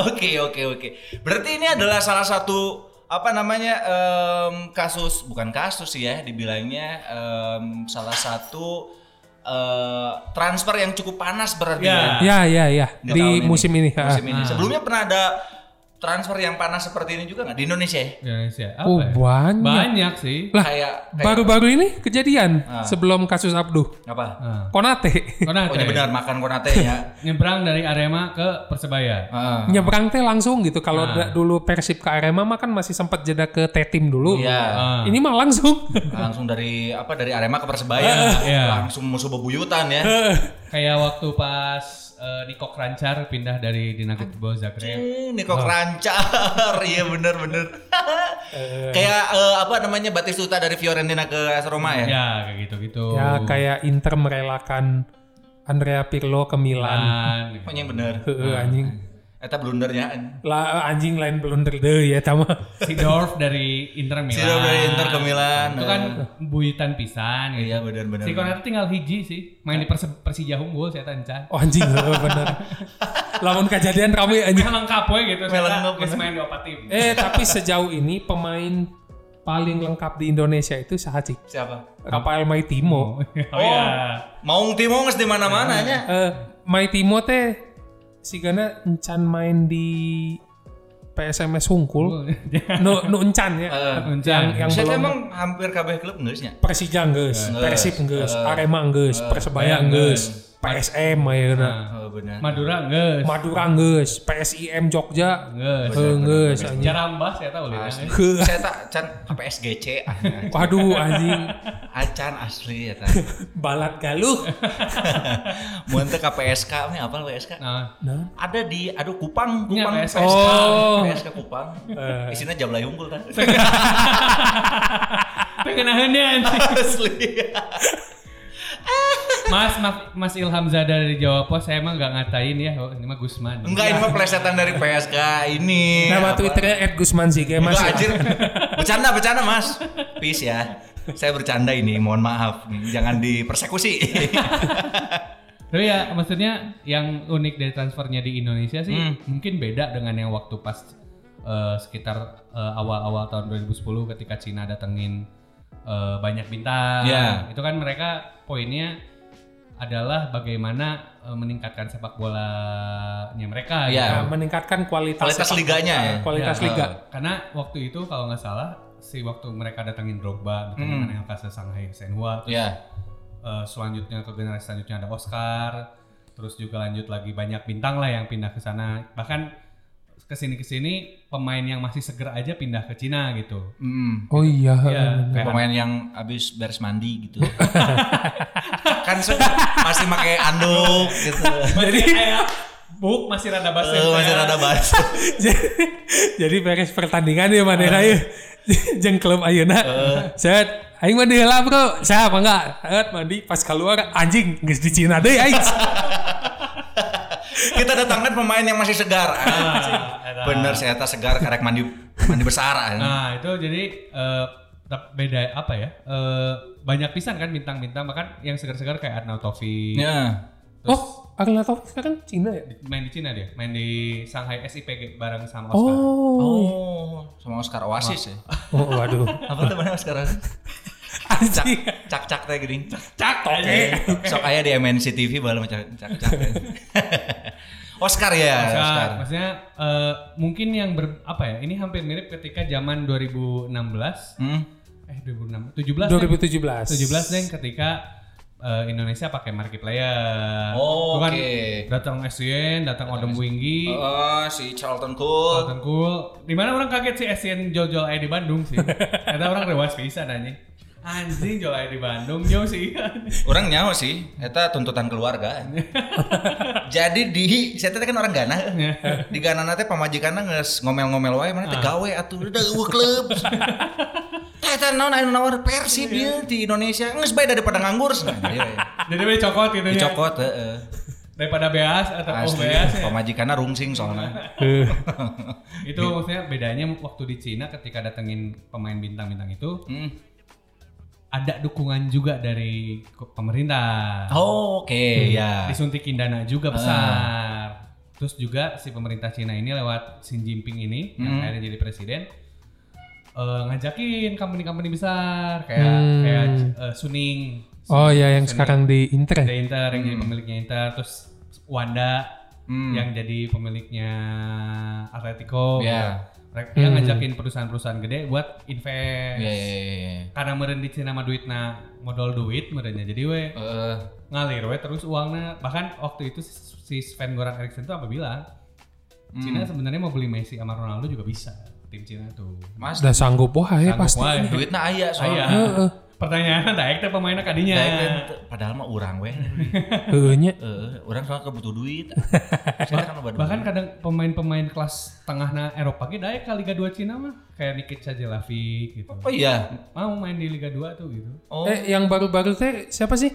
[SPEAKER 1] Oke oke oke. Berarti ini adalah salah satu apa namanya em, kasus bukan kasus sih ya dibilangnya em, salah satu eh, transfer yang cukup panas berarti ya.
[SPEAKER 3] Ya.
[SPEAKER 2] Ya ya ya
[SPEAKER 1] Nggak
[SPEAKER 2] di
[SPEAKER 1] tahun ini.
[SPEAKER 2] musim ini. ah.
[SPEAKER 1] Musim ini. Sebelumnya pernah ada transfer yang panas seperti ini juga nggak di Indonesia? ya?
[SPEAKER 3] Indonesia apa
[SPEAKER 2] Oh
[SPEAKER 3] ya?
[SPEAKER 2] banyak.
[SPEAKER 3] banyak sih
[SPEAKER 2] Lah,
[SPEAKER 1] Kayak, kayak
[SPEAKER 2] Baru-baru ini kejadian
[SPEAKER 1] Ah.
[SPEAKER 2] sebelum kasus Abduh.
[SPEAKER 1] apa?
[SPEAKER 3] nah, iya.
[SPEAKER 2] Konate
[SPEAKER 1] Oh ini benar makan konate ya.
[SPEAKER 3] nyebrang dari Arema ke Persebaya
[SPEAKER 1] Heeh.
[SPEAKER 2] nyebrang teh langsung gitu. Kalau
[SPEAKER 1] Ah.
[SPEAKER 2] da- dulu Persib ke Arema mah kan masih sempat jeda ke Tetim dulu.
[SPEAKER 1] Iya.
[SPEAKER 3] Ah.
[SPEAKER 2] Ini mah langsung.
[SPEAKER 1] langsung dari apa dari Arema ke Persebaya
[SPEAKER 3] Iya.
[SPEAKER 1] langsung musuh bebuyutan ya
[SPEAKER 3] kayak waktu pas eh, Niko Krancar pindah dari Dinamo Football Zagreb
[SPEAKER 1] Hmm, Niko Krancar iya bener bener kayak eh, apa namanya Batistuta dari Fiorentina ke AS Roma ya
[SPEAKER 3] ya kayak gitu-gitu
[SPEAKER 1] Oh.
[SPEAKER 2] Ya kayak Inter merelakan Andrea Pirlo ke Milan.
[SPEAKER 3] Kan, gitu.
[SPEAKER 1] Oh, yang bener
[SPEAKER 2] Heeh, anjing.
[SPEAKER 1] Ah. Eta blundernya anjing.
[SPEAKER 2] Lah eh, anjing lain blunder deh ya tama.
[SPEAKER 3] Sidorf dari Inter Milan.
[SPEAKER 1] Sidorf dari Inter ke Milan. Eh.
[SPEAKER 3] Itu kan buyutan pisan gitu.
[SPEAKER 1] iya bener bener
[SPEAKER 3] Si Konate tinggal hiji sih, main di Perse- Persija Unggul saya tanca.
[SPEAKER 2] Oh anjing heeh, bener. Lamun kejadian rame anjing.
[SPEAKER 3] Emang lengkap we gitu, saya
[SPEAKER 1] lengkap,
[SPEAKER 3] geus main dua empat tim.
[SPEAKER 2] Eh tapi sejauh ini pemain paling lengkap di Indonesia itu sahaji.
[SPEAKER 1] siapa
[SPEAKER 2] Rafael Maitimo.
[SPEAKER 3] Oh iya.
[SPEAKER 1] Maung Timo nges di mana mana nya
[SPEAKER 2] Eh Maitimo teh sigana encan main di PSMS
[SPEAKER 1] Oh.
[SPEAKER 2] Hungkul. nu nu encan ya.
[SPEAKER 3] Oh, iya. Encan.
[SPEAKER 2] Yang
[SPEAKER 1] saya
[SPEAKER 2] belum
[SPEAKER 1] emang hampir kabeh klub ngeusnya
[SPEAKER 2] Persija geus, Persib geus, Arema geus, Persebaya geus, PSM ayeuna.
[SPEAKER 1] oh, bener
[SPEAKER 3] Madura geus.
[SPEAKER 2] Madura geus, PSIM Jogja
[SPEAKER 3] Geus.
[SPEAKER 2] heuh, geus anjing.
[SPEAKER 3] Jarambah saya tahu lihat.
[SPEAKER 2] Heuh.
[SPEAKER 1] saya tak can KPSGC anjing.
[SPEAKER 2] Waduh anjing,
[SPEAKER 1] acan asli ya tadi
[SPEAKER 2] balat galuh.
[SPEAKER 1] Mun teu ka PSK, ini apa PSK?
[SPEAKER 3] Nah,
[SPEAKER 2] Nah,
[SPEAKER 1] Ada di aduh Kupang,
[SPEAKER 3] Iya,
[SPEAKER 1] Kupang
[SPEAKER 3] PSK.
[SPEAKER 2] Oh. Eh.
[SPEAKER 1] PSK Kupang. Isinya Jablay Unggul kan.
[SPEAKER 3] pengenahan anjing.
[SPEAKER 1] Asli.
[SPEAKER 3] Mas, Mas Mas Ilham Zada dari Jawa Pos saya emang nggak ngatain ya, oh, ini mah Gusman.
[SPEAKER 1] Enggak ini mah plesetan dari PSK ini.
[SPEAKER 2] Iya. nama
[SPEAKER 1] Apa?
[SPEAKER 2] Nah, Twitternya @gusman sih,
[SPEAKER 1] Enggak,
[SPEAKER 2] Mas. ya?
[SPEAKER 1] anjir. Bercanda, bercanda, Mas. Peace ya. Saya bercanda ini, mohon maaf. Jangan dipersekusi.
[SPEAKER 3] Tapi ya maksudnya yang unik dari transfernya di Indonesia sih
[SPEAKER 1] Hmm.
[SPEAKER 3] mungkin beda dengan yang waktu pas eh, sekitar eh, awal-awal tahun 2010 ketika Cina datengin eh, banyak bintang.
[SPEAKER 1] Iya.
[SPEAKER 3] Itu kan mereka poinnya adalah bagaimana eh, meningkatkan sepak bolanya mereka.
[SPEAKER 1] Iya.
[SPEAKER 2] Nah,
[SPEAKER 3] gitu.
[SPEAKER 2] meningkatkan kualitas
[SPEAKER 1] Kualitas
[SPEAKER 2] sepak-
[SPEAKER 1] liganya ya.
[SPEAKER 2] Kualitas
[SPEAKER 1] Ya,
[SPEAKER 2] liga.
[SPEAKER 3] eh, Karena waktu itu kalau nggak salah si waktu mereka datengin
[SPEAKER 1] Hmm.
[SPEAKER 3] Drogba, datengin Anelka ke Shanghai Shenhua, terus
[SPEAKER 1] Ya.
[SPEAKER 3] Eh, selanjutnya ke generasi selanjutnya ada Oscar terus juga lanjut lagi banyak bintang lah yang pindah ke sana bahkan kesini kesini pemain yang masih seger aja pindah ke Cina gitu
[SPEAKER 1] Hmm.
[SPEAKER 2] Oh iya.
[SPEAKER 3] Iya,
[SPEAKER 1] Kayak
[SPEAKER 3] kayak
[SPEAKER 1] pemain yang abis beres mandi gitu. kan suka masih pakai anduk gitu.
[SPEAKER 3] jadi kayak buk masih rada basi
[SPEAKER 1] Eh, masih rada basah.
[SPEAKER 2] jadi, jadi beres pertandingan ya mana uh.
[SPEAKER 1] Iya.
[SPEAKER 2] jeng klub ayeuna. Set aing mandi heula bro. Saya apa enggak? Set mandi pas keluar anjing geus di Cina deui aing.
[SPEAKER 1] Kita datangkan pemain yang Ah, masih segar. Bener saya tak segar karek mandi mandi besar. ah. Ya. anjing.
[SPEAKER 3] nah itu jadi eh, tep- beda apa ya Eh, banyak pisan kan bintang-bintang bahkan yang segar-segar kayak Arnaud Toffee
[SPEAKER 1] Ya.
[SPEAKER 2] Oh, Arna Taufik sekarang Cina ya?
[SPEAKER 3] main di Cina dia main di Shanghai SIPG bareng sama Oscar
[SPEAKER 2] Oh.
[SPEAKER 1] Oh, sama Oscar Oasis ya.
[SPEAKER 2] Oh, waduh.
[SPEAKER 1] Apa tuh namanya Oscar Oasis? Cak
[SPEAKER 2] Anjing.
[SPEAKER 1] cak cak teh gering.
[SPEAKER 3] cak
[SPEAKER 1] Sok aya di MNC TV bae macam cak cak. Oscar ya,
[SPEAKER 3] Maksudnya-
[SPEAKER 1] Oscar.
[SPEAKER 3] Maksudnya eh, mungkin yang ber, apa ya? Ini hampir mirip ketika zaman 2016
[SPEAKER 1] Hmm.
[SPEAKER 3] eh 2016 17
[SPEAKER 2] 2017.
[SPEAKER 3] deh. 17 deh ketika eh, Indonesia pakai marketplayer.
[SPEAKER 1] Oh,
[SPEAKER 3] Bukan
[SPEAKER 1] oke.
[SPEAKER 3] datang SCN, datang Odom Wingi,
[SPEAKER 1] Oh, si Charlton Cole.
[SPEAKER 3] Alton Cool. Dimana orang kaget sih SCN jual-jual air di Bandung sih. Kata orang rewas pisan anjing. Anjing jual air di Bandung jauh sih.
[SPEAKER 1] Orang nyawa sih, eta tuntutan keluarga. Jadi di saya teh kan orang Ghana. Di Ghana nate pamajikanna geus ngomel-ngomel wae mana
[SPEAKER 3] Ah.
[SPEAKER 1] teh gawe atuh udah eueuh klub. Teh teh naon anu nawar Persib ieu
[SPEAKER 3] Iya.
[SPEAKER 1] di Indonesia geus bae daripada nganggur. Nah, jadi we.
[SPEAKER 3] Jadi we cokot gitu ya.
[SPEAKER 1] Dicokot heeh.
[SPEAKER 3] Daripada beas atau oh Iya.
[SPEAKER 1] Asli
[SPEAKER 3] beas ya.
[SPEAKER 1] pamajikanna rungsing soalnya.
[SPEAKER 2] Eh,
[SPEAKER 3] itu maksudnya bedanya waktu di Cina ketika datengin pemain bintang-bintang itu
[SPEAKER 1] Hmm.
[SPEAKER 3] ada dukungan juga dari ko- pemerintah
[SPEAKER 1] Oh, oke ya.
[SPEAKER 3] disuntikin dana juga besar terus juga si pemerintah Cina ini lewat Xi Jinping ini yang
[SPEAKER 1] Hmm.
[SPEAKER 3] akhirnya jadi presiden eh, ngajakin company-company besar kayak
[SPEAKER 2] Hmm.
[SPEAKER 3] kayak eh, Suning
[SPEAKER 1] iya.
[SPEAKER 2] oh ya yang sekarang di Inter. ya?
[SPEAKER 3] The Inter yang jadi pemiliknya Inter terus Wanda
[SPEAKER 1] Hmm.
[SPEAKER 3] yang jadi pemiliknya Atletico
[SPEAKER 1] Iya.
[SPEAKER 3] mereka yang ngajakin perusahaan-perusahaan gede buat invest
[SPEAKER 1] Ya, ya, ya, ya.
[SPEAKER 3] karena meren di Cina mah duitna modal duit merennya jadi we
[SPEAKER 1] Heeh.
[SPEAKER 3] ngalir we terus uangnya bahkan waktu itu si Sven Goran Eriksson tuh apa bilang
[SPEAKER 1] Hmm.
[SPEAKER 3] Cina sebenarnya mau beli Messi sama Ronaldo juga bisa tim Cina tuh
[SPEAKER 1] Mas,
[SPEAKER 2] Sudah sanggup wah ya pasti.
[SPEAKER 3] Wah,
[SPEAKER 1] duitna aya
[SPEAKER 3] saya
[SPEAKER 1] soalnya.
[SPEAKER 3] pertanyaan daek teh pemainnya kadinya
[SPEAKER 1] Daek teh teu- Padahal mah urang we.
[SPEAKER 2] Heeh nya.
[SPEAKER 1] Eh, orang soalnya kebutuh duit. Saya kan loba duit.
[SPEAKER 3] bahkan kadang pemain-pemain kelas tengahna Eropa ge daek ke Liga 2 Cina mah kayak Nikita Jelavi gitu
[SPEAKER 1] Oh iya.
[SPEAKER 3] mau main di Liga 2 tuh gitu
[SPEAKER 1] Oh.
[SPEAKER 2] Eh yang baru-baru teh siapa sih?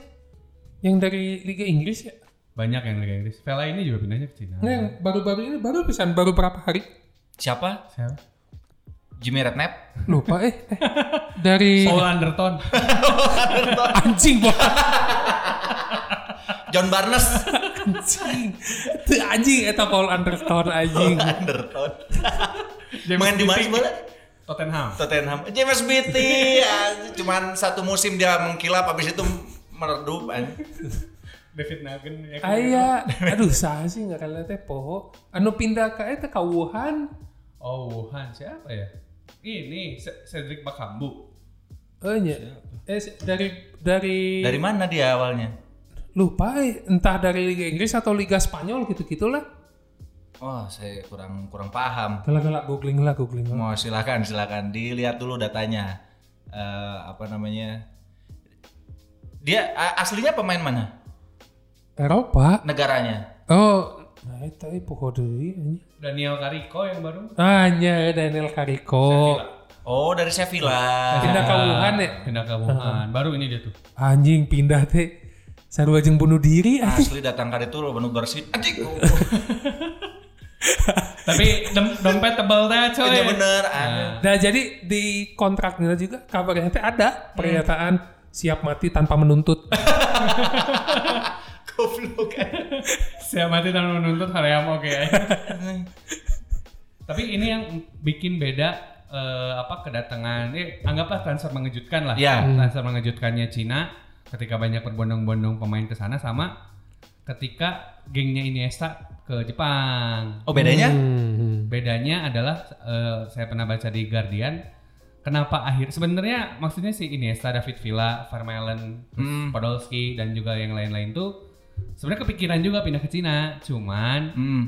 [SPEAKER 2] Yang dari Liga Inggris ya?
[SPEAKER 3] banyak yang Liga Inggris Vela ini juga pindahnya ke Cina
[SPEAKER 2] Nah, yang baru-baru ini baru pisan baru berapa hari?
[SPEAKER 1] Siapa?
[SPEAKER 3] Siapa?
[SPEAKER 1] Jimmy Redknapp?
[SPEAKER 2] Lupa eh. eh. Dari
[SPEAKER 3] Paul Anderton
[SPEAKER 2] anjing bukan
[SPEAKER 1] John Barnes.
[SPEAKER 2] anjing. Teu anjing eta Paul Anderton anjing.
[SPEAKER 1] Underton. Main di mana
[SPEAKER 3] Beattie.
[SPEAKER 1] sebenarnya?
[SPEAKER 3] Tottenham
[SPEAKER 1] Tottenham. James Beattie. Ah, Cuman satu musim dia mengkilap habis itu meredup.
[SPEAKER 3] David Nagen ya kan?
[SPEAKER 2] Aya, aduh saha sih ngaranna teh poho. Anu pindah ka eta ka Wuhan.
[SPEAKER 3] Oh Wuhan siapa ya? Ini Ce- Cedric Bakambu.
[SPEAKER 2] Eh nya. Eh si- dari dari
[SPEAKER 1] Dari mana dia awalnya?
[SPEAKER 2] lupa eh, entah dari Liga Inggris atau Liga Spanyol gitu-gitulah.
[SPEAKER 1] Oh, saya kurang kurang paham.
[SPEAKER 2] Galak galak googling lah googling lah.
[SPEAKER 1] Mau silakan silakan dilihat dulu datanya. Eh, apa namanya? Dia a- aslinya pemain mana?
[SPEAKER 2] Eropa.
[SPEAKER 1] Negaranya?
[SPEAKER 2] Oh, nah eta eh, poho deui anjing.
[SPEAKER 3] Daniel Carico yang baru.
[SPEAKER 2] Hanya Daniel Kariko.
[SPEAKER 1] Oh, dari Sevilla.
[SPEAKER 2] Pindah ke Wuhan ya?
[SPEAKER 3] Ah, Pindah ke Wuhan. Baru ini dia tuh.
[SPEAKER 2] Anjing pindah teh. Sarua jeung bunuh diri ah. anjing.
[SPEAKER 1] asli datang kali itu lo bener bersih anjing
[SPEAKER 3] Tapi dem- dompet tebal dah coy.
[SPEAKER 1] Iya bener aneh.
[SPEAKER 2] Nah, jadi di kontraknya juga kabarnya teh ada pernyataan siap mati tanpa menuntut.
[SPEAKER 1] goblok anjing.
[SPEAKER 3] Saya mati dan menuntut Haream oke. ya. Tapi ini yang bikin beda eh, apa kedatangan eh, anggaplah transfer mengejutkan lah.
[SPEAKER 1] Iya.
[SPEAKER 3] Transfer mengejutkannya Cina ketika banyak berbondong-bondong pemain ke sana sama ketika gengnya Iniesta ke Jepang.
[SPEAKER 1] oh bedanya
[SPEAKER 2] Hmm.
[SPEAKER 3] Bedanya adalah eh, saya pernah baca di Guardian kenapa akhir sebenarnya maksudnya si Iniesta, David Villa, Vermaelen, terus
[SPEAKER 1] Hmm.
[SPEAKER 3] Podolski dan juga yang lain-lain tuh sebenarnya kepikiran juga pindah ke Cina, cuman
[SPEAKER 1] hmm.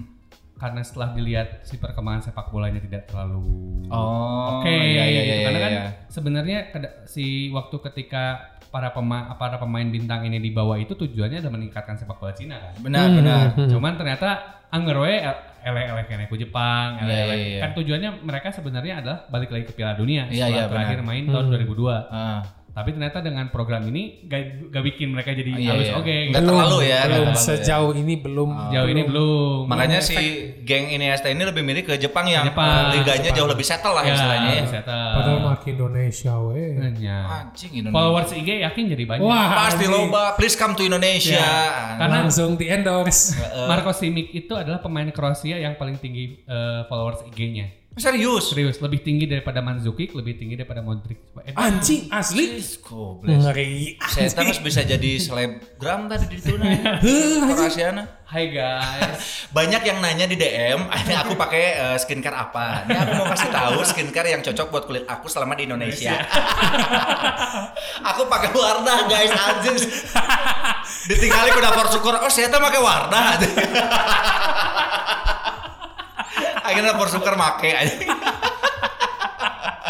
[SPEAKER 3] karena setelah dilihat si perkembangan sepak bolanya tidak terlalu
[SPEAKER 1] oh
[SPEAKER 3] oke
[SPEAKER 1] iya, iya,
[SPEAKER 3] gitu.
[SPEAKER 1] iya,
[SPEAKER 3] karena
[SPEAKER 1] iya,
[SPEAKER 3] kan
[SPEAKER 1] iya.
[SPEAKER 3] sebenarnya keda- si waktu ketika para pema- para pemain bintang ini dibawa itu tujuannya adalah meningkatkan sepak bola Cina kan.
[SPEAKER 1] benar
[SPEAKER 2] Hmm.
[SPEAKER 1] benar
[SPEAKER 3] Cuman ternyata anger we elek-elek kene ku Jepang, elek
[SPEAKER 1] Iya, iya, iya.
[SPEAKER 3] Kan tujuannya mereka sebenarnya adalah balik lagi ke Piala Dunia
[SPEAKER 1] Iya, iya,
[SPEAKER 3] setelah terakhir main tahun 2002.
[SPEAKER 1] Ah,
[SPEAKER 3] Tapi ternyata dengan program ini gak, gak bikin mereka jadi
[SPEAKER 1] Iya,
[SPEAKER 3] halus
[SPEAKER 1] iya.
[SPEAKER 3] oke.
[SPEAKER 1] Nggak
[SPEAKER 3] gitu.
[SPEAKER 1] Belum. terlalu ya, nggak
[SPEAKER 2] Belum
[SPEAKER 1] terlalu ya.
[SPEAKER 2] sejauh ini belum.
[SPEAKER 3] Jauh ini belum.
[SPEAKER 1] makanya si geng Iniesta ini lebih milih ke Jepang yang
[SPEAKER 3] Jepang.
[SPEAKER 1] liganya jauh lebih settle lah
[SPEAKER 3] ya,
[SPEAKER 1] istilahnya ya. Ah,
[SPEAKER 3] bisa tahu.
[SPEAKER 2] Padahal mah Indonesia we.
[SPEAKER 3] Ya.
[SPEAKER 1] anjing Indonesia
[SPEAKER 3] Followers IG yakin jadi banyak.
[SPEAKER 2] Wah,
[SPEAKER 1] pasti
[SPEAKER 2] anjing.
[SPEAKER 3] Iya.
[SPEAKER 1] loba please come to Indonesia
[SPEAKER 3] Karena-
[SPEAKER 2] langsung di endorse.
[SPEAKER 3] Marko Simic itu adalah pemain Kroasia yang paling tinggi eh, followers IG-nya.
[SPEAKER 1] Ah. Serius?
[SPEAKER 3] Serius, lebih tinggi daripada Mandzukic, lebih tinggi daripada Modric.
[SPEAKER 1] Ah.
[SPEAKER 3] Coba, eh,
[SPEAKER 4] Anjing asli.
[SPEAKER 1] Goblok.
[SPEAKER 4] Ngeri.
[SPEAKER 1] Saya terus bisa jadi selebgram tadi di
[SPEAKER 3] Iya.
[SPEAKER 1] Tuna.
[SPEAKER 4] Heuh, anjing.
[SPEAKER 1] Korasiana.
[SPEAKER 3] Hai guys.
[SPEAKER 1] Banyak yang nanya di DM, ini aku pakai eh, skincare apa? Ini aku mau kasih tahu skincare yang cocok buat kulit aku selama di Indonesia. aku pakai Wardah guys, anjing. Ditinggalin udah syukur, oh saya tuh pakai Wardah. Akhirnya syukur make anjing.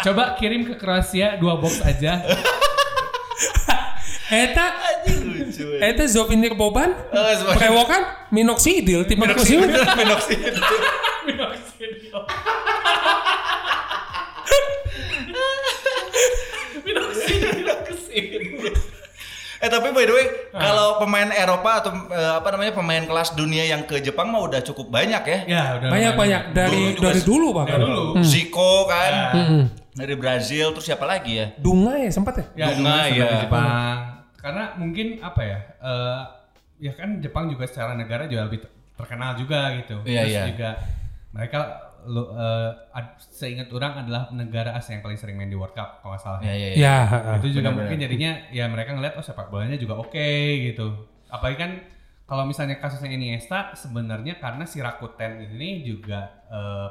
[SPEAKER 3] Coba kirim ke Kroasia dua box aja.
[SPEAKER 2] Eta
[SPEAKER 1] Anjing lucu. Eh,
[SPEAKER 2] Eta Zovinir Boban
[SPEAKER 1] Oh, iya, semuanya.
[SPEAKER 2] Prewokan Minoxidil Tipe
[SPEAKER 1] Minoxidil,
[SPEAKER 2] Minoxidil
[SPEAKER 1] minoxidil.
[SPEAKER 3] Minoxidil.
[SPEAKER 1] Eh tapi by the way, kalau pemain Eropa atau eh, apa namanya pemain kelas dunia yang ke Jepang mah udah cukup banyak ya.
[SPEAKER 3] Ya, udah.
[SPEAKER 2] Banyak-banyak Dari
[SPEAKER 1] Dulu juga
[SPEAKER 2] dari
[SPEAKER 1] sih.
[SPEAKER 2] dulu
[SPEAKER 3] Ya
[SPEAKER 2] bahkan
[SPEAKER 3] dulu.
[SPEAKER 1] Zico kan
[SPEAKER 2] Mm-mm.
[SPEAKER 1] dari Brazil terus siapa lagi ya?
[SPEAKER 2] Dunga ya sempat ya
[SPEAKER 3] Ya,
[SPEAKER 1] Dunga, ya.
[SPEAKER 3] Dunga ya. Jepang. Karena mungkin apa ya? eh, ya kan Jepang juga secara negara juga lebih ter- terkenal juga gitu.
[SPEAKER 1] Iya,
[SPEAKER 3] Terus
[SPEAKER 1] iya.
[SPEAKER 3] juga mereka lo, eh, ad- seingat orang adalah negara Asia yang paling sering main di World Cup kalau nggak salah.
[SPEAKER 1] Ya ya. ya.
[SPEAKER 2] Ya ha, ha.
[SPEAKER 3] Itu juga
[SPEAKER 1] benar-benar.
[SPEAKER 3] mungkin jadinya ya mereka ngeliat oh sepak bolanya juga oke gitu. Apalagi kan kalau misalnya kasusnya Iniesta sebenarnya karena si Rakuten ini juga eh,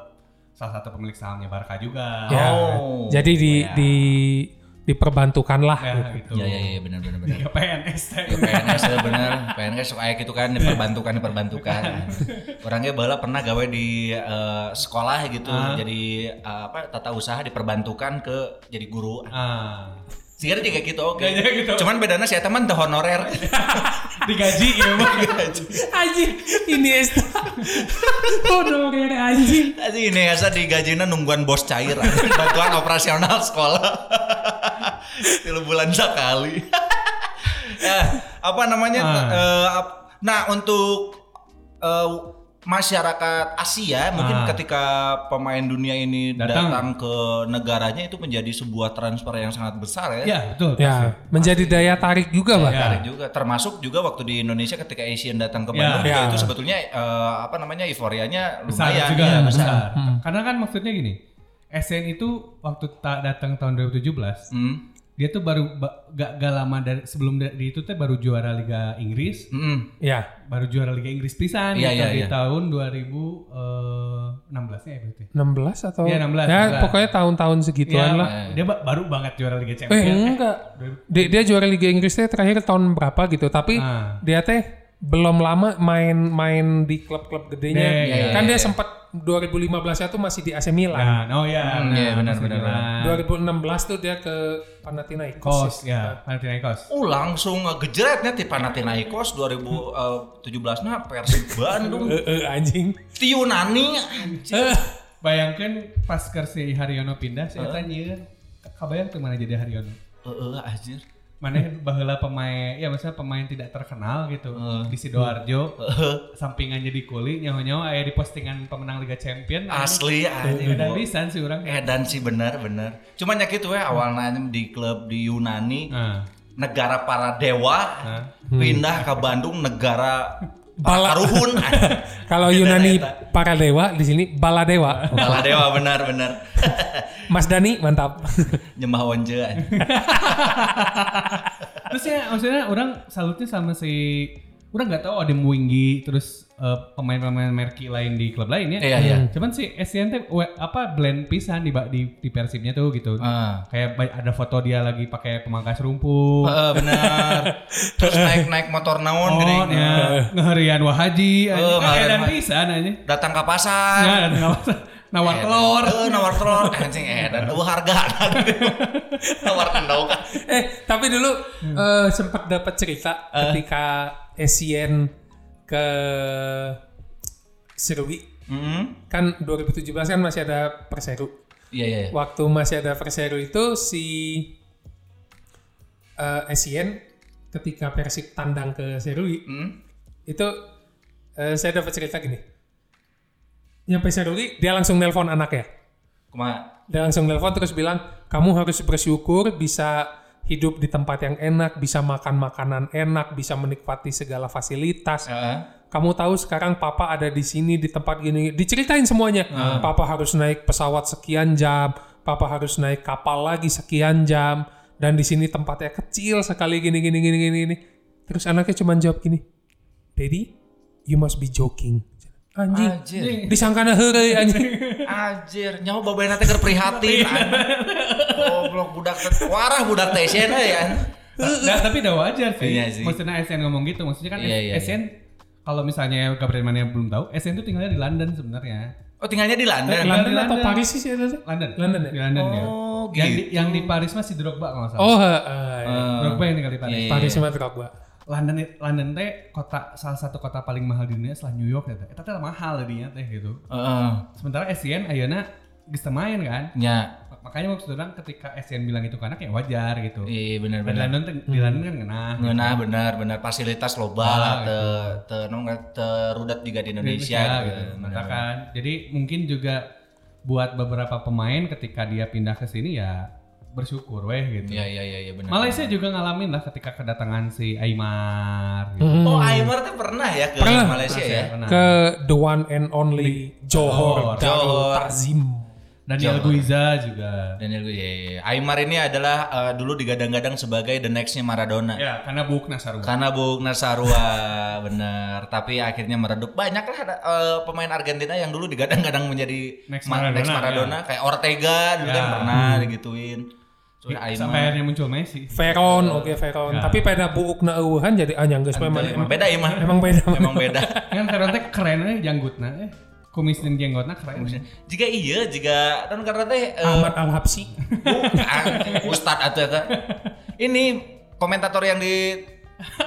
[SPEAKER 3] salah satu pemilik sahamnya Barca juga.
[SPEAKER 2] Ya.
[SPEAKER 1] Oh.
[SPEAKER 2] Jadi di
[SPEAKER 3] Ya.
[SPEAKER 2] di diperbantukan lah
[SPEAKER 3] Ya,
[SPEAKER 2] gitu.
[SPEAKER 1] Ya
[SPEAKER 3] gitu.
[SPEAKER 1] ya ya benar benar benar.
[SPEAKER 3] Tiga PNS teh.
[SPEAKER 1] Ya, PNS ya benar, PNS suka kayak gitu kan diperbantukan diperbantukan. Orangnya bala pernah gawe di eh, sekolah gitu, jadi eh, apa tata usaha diperbantukan ke jadi guru.
[SPEAKER 3] Ah.
[SPEAKER 1] Sekarang juga gitu oke.
[SPEAKER 3] Kayaknya gitu.
[SPEAKER 1] Cuman bedanya saya teman teh honorer.
[SPEAKER 3] Digaji ya Bang.
[SPEAKER 2] Anjing ini Esta. Honorer anjing.
[SPEAKER 1] Aji ini Esa digajinya nungguan bos cair anjing. bantuan operasional sekolah tiga bulan sekali. Eh, apa namanya?
[SPEAKER 3] Ah.
[SPEAKER 1] eh, ap- nah untuk eh, masyarakat Asia mungkin
[SPEAKER 3] Ah.
[SPEAKER 1] ketika pemain dunia ini datang.
[SPEAKER 3] Datang.
[SPEAKER 1] ke negaranya itu menjadi sebuah transfer yang sangat besar ya.
[SPEAKER 3] Ya, betul. pasti.
[SPEAKER 2] Ya, menjadi daya tarik juga lah.
[SPEAKER 1] Menarik
[SPEAKER 3] Iya.
[SPEAKER 1] juga termasuk juga waktu di Indonesia ketika Asian datang ke Bandung juga
[SPEAKER 2] Ya. Ya.
[SPEAKER 1] itu sebetulnya eh, apa namanya euforianya
[SPEAKER 3] Iya. Besar
[SPEAKER 1] lumayan
[SPEAKER 3] juga,
[SPEAKER 1] ya,
[SPEAKER 3] besar.
[SPEAKER 1] besar.
[SPEAKER 2] Hmm.
[SPEAKER 3] Karena kan maksudnya gini, SN itu waktu ta- datang tahun 2017,
[SPEAKER 1] Hmm.
[SPEAKER 3] dia tuh baru ba- gak, gak lama dari sebelum dari itu tuh baru juara Liga Inggris,
[SPEAKER 1] Mm-mm.
[SPEAKER 2] Ya,
[SPEAKER 3] baru juara Liga Inggris pisan
[SPEAKER 1] Iya,
[SPEAKER 3] gitu,
[SPEAKER 1] iya,
[SPEAKER 3] di
[SPEAKER 1] iya.
[SPEAKER 3] tahun 2016 nya ya berarti.
[SPEAKER 2] 16 atau
[SPEAKER 1] Iya,
[SPEAKER 3] Ya, 16,
[SPEAKER 2] Ya,
[SPEAKER 3] 16.
[SPEAKER 2] pokoknya tahun-tahun segituan lah.
[SPEAKER 3] dia ba- baru banget juara Liga
[SPEAKER 2] Eh,
[SPEAKER 3] Champions.
[SPEAKER 2] enggak. Dia, dia juara Liga Inggris teh terakhir tahun berapa gitu, tapi
[SPEAKER 3] Ah.
[SPEAKER 2] dia teh belum lama main-main di klub-klub gedenya.
[SPEAKER 3] Iya, iya,
[SPEAKER 2] kan dia sempat 2015 itu masih di AC Milan.
[SPEAKER 3] Nah, oh ya,
[SPEAKER 1] Hmm, iya, benar, benar, benar.
[SPEAKER 2] 2016 tuh dia ke Panathinaikos.
[SPEAKER 3] Kos,
[SPEAKER 2] ya.
[SPEAKER 3] ya, Panathinaikos.
[SPEAKER 1] Oh langsung ngegejretnya di Panathinaikos 2017 nah Persib Bandung
[SPEAKER 2] Eh, eh, anjing.
[SPEAKER 1] Tiunani
[SPEAKER 2] Eh,
[SPEAKER 3] Bayangkan pas ke si Haryono pindah, saya tanya, kabayang tuh mana jadi Haryono?
[SPEAKER 1] Heeh anjir
[SPEAKER 3] Mana baheula pemain, ya maksudnya pemain tidak terkenal gitu
[SPEAKER 1] Heeh.
[SPEAKER 3] di Sidoarjo,
[SPEAKER 1] Heeh.
[SPEAKER 3] sampingan jadi kuli, nyawa-nyawa aya di postingan pemenang Liga Champion.
[SPEAKER 1] asli anjir
[SPEAKER 3] Dan bisa sih orang kayak.
[SPEAKER 1] edan sih benar benar cuman ya gitu ya awalnya di klub di Yunani
[SPEAKER 3] Nah,
[SPEAKER 1] negara para dewa
[SPEAKER 3] nah.
[SPEAKER 1] pindah ke Bandung negara
[SPEAKER 2] Bala-
[SPEAKER 1] para karuhun
[SPEAKER 2] Kalau
[SPEAKER 3] Iya,
[SPEAKER 2] Yunani para dewa di sini bala dewa.
[SPEAKER 1] Bala dewa benar benar
[SPEAKER 2] Mas Dani mantap.
[SPEAKER 1] nyembah onje anjing.
[SPEAKER 3] Terus ya maksudnya orang salutnya sama si orang nggak tahu ada Mwingi terus eh, pemain-pemain merki lain di klub lain ya.
[SPEAKER 1] Iya, iya.
[SPEAKER 3] Cuman si SCN tuh we- apa blend pisan di ba- di, di persibnya tuh gitu.
[SPEAKER 1] Ah.
[SPEAKER 3] Kayak ba- ada foto dia lagi pakai pemangkas rumput.
[SPEAKER 1] Heeh, benar terus naik naik motor naon
[SPEAKER 3] Oh,
[SPEAKER 1] gini.
[SPEAKER 3] ya. ngeherian wahaji,
[SPEAKER 1] Eh,
[SPEAKER 3] anjing. kan
[SPEAKER 1] ngeherian
[SPEAKER 3] edan
[SPEAKER 1] wahaji. Ah.
[SPEAKER 3] pisan aja.
[SPEAKER 1] datang ke pasar
[SPEAKER 3] Ya, dan nggak apa nawar telur.
[SPEAKER 1] Eh, nawar telur. Anjing eh dan eueuh harga. nawar endog.
[SPEAKER 2] eh tapi dulu
[SPEAKER 3] Hmm.
[SPEAKER 2] eh, sempat dapat cerita
[SPEAKER 3] Eh.
[SPEAKER 2] ketika Asian ke Serui
[SPEAKER 1] Heeh.
[SPEAKER 2] kan 2017 kan masih ada Perseru.
[SPEAKER 1] Iya iya. iya.
[SPEAKER 2] Waktu masih ada Perseru itu si eh Asian ketika Persib tandang ke Serui
[SPEAKER 1] Hmm?
[SPEAKER 2] itu eh, saya dapat cerita gini nyampe Seruri dia langsung nelpon anaknya
[SPEAKER 1] Kumaha?
[SPEAKER 2] dia langsung nelpon terus bilang kamu harus bersyukur bisa hidup di tempat yang enak bisa makan makanan enak bisa menikmati segala fasilitas
[SPEAKER 1] Heeh.
[SPEAKER 2] kamu tahu sekarang papa ada di sini di tempat gini diceritain semuanya papa harus naik pesawat sekian jam papa harus naik kapal lagi sekian jam dan di sini tempatnya kecil sekali gini gini gini gini gini terus anaknya cuma jawab gini daddy you must be joking anjing
[SPEAKER 1] Anjir.
[SPEAKER 2] disangkana heureuy anjing
[SPEAKER 1] Anjir, nyaho babena teh keur prihatin. Goblok budak teh warah budak teh sia teh ya.
[SPEAKER 3] Nah, tapi udah wajar sih.
[SPEAKER 1] Iya sih.
[SPEAKER 3] Maksudnya SN ngomong gitu, maksudnya kan
[SPEAKER 1] Iya, iya,
[SPEAKER 3] SN kalau misalnya Gabriel Mane belum tahu, SN tuh tinggalnya di London sebenarnya.
[SPEAKER 1] Oh tinggalnya di London.
[SPEAKER 2] London
[SPEAKER 3] London.
[SPEAKER 2] atau Paris sih sih
[SPEAKER 3] London.
[SPEAKER 2] London ya?
[SPEAKER 3] Di London ya.
[SPEAKER 1] Oh,
[SPEAKER 3] Yang di,
[SPEAKER 1] gitu.
[SPEAKER 3] yang di Paris mah si Drogba kalau nggak salah.
[SPEAKER 2] oh heeh.
[SPEAKER 3] Drogba yang tinggal di Paris.
[SPEAKER 1] Iya,
[SPEAKER 2] Paris sama Drogba
[SPEAKER 3] London London teh kota salah satu kota paling mahal di dunia setelah New York ya. teh. Eta teh mahal jadinya teh gitu.
[SPEAKER 1] Heeh.
[SPEAKER 3] Sementara SN ayeuna geus teu main kan.
[SPEAKER 1] Nya.
[SPEAKER 3] Makanya maksud orang ketika SN bilang itu ke anak ya wajar gitu.
[SPEAKER 1] Iya Hmm.
[SPEAKER 3] Dan
[SPEAKER 1] benar-benar.
[SPEAKER 3] London teh- di London kan ngenah.
[SPEAKER 1] Ngeunah benar-benar fasilitas loba lah te te nu nggak terudat juga di Indonesia gitu.
[SPEAKER 3] Katakan. kan. Jadi mungkin juga buat beberapa pemain ketika dia pindah ke sini ya bersyukur weh gitu.
[SPEAKER 1] Iya iya iya iya benar.
[SPEAKER 3] Malaysia juga ngalamin lah ketika kedatangan si Aymar gitu.
[SPEAKER 2] Hmm.
[SPEAKER 1] Oh, Aymar teh pernah ya ke
[SPEAKER 2] Pernah.
[SPEAKER 1] Malaysia ya?
[SPEAKER 3] Pernah.
[SPEAKER 2] ke the one and only Johor
[SPEAKER 3] Johor.
[SPEAKER 2] Darul
[SPEAKER 1] Johor.
[SPEAKER 2] Takzim
[SPEAKER 3] Daniel
[SPEAKER 1] Johor.
[SPEAKER 3] Guiza juga.
[SPEAKER 1] Daniel gue, ya, ya. Aymar ini adalah eh, dulu digadang-gadang sebagai the nextnya
[SPEAKER 2] Iya.
[SPEAKER 1] Maradona.
[SPEAKER 3] Ya, karena Buk Nasarwa.
[SPEAKER 1] Karena Bung Narsarwa bener, tapi akhirnya meredup. Banyak lah ada, eh, pemain Argentina yang dulu digadang-gadang menjadi
[SPEAKER 3] Next
[SPEAKER 1] ma-
[SPEAKER 3] Maradona,
[SPEAKER 1] next Maradona.
[SPEAKER 2] iya.
[SPEAKER 1] kayak Ortega dulu kan
[SPEAKER 3] Ya.
[SPEAKER 1] pernah
[SPEAKER 2] Hmm.
[SPEAKER 1] digituin.
[SPEAKER 2] Iya,
[SPEAKER 1] Terus
[SPEAKER 3] Sampai
[SPEAKER 1] Aymar.
[SPEAKER 3] akhirnya muncul Messi.
[SPEAKER 2] Veron oke Veron
[SPEAKER 1] Ya.
[SPEAKER 2] tapi pada buuk na eueuhan jadi anjang geus poe
[SPEAKER 1] Emang
[SPEAKER 2] mana.
[SPEAKER 1] beda Aymar.
[SPEAKER 2] emang beda
[SPEAKER 1] Emang beda.
[SPEAKER 3] kan karena teh keren aja janggutna eh. Kumis dan jenggotna keren.
[SPEAKER 1] jika iya, jika kan karena teh eh,
[SPEAKER 2] Ahmad Al Habsi
[SPEAKER 1] bukan Ustad atau eta. Ini komentator yang di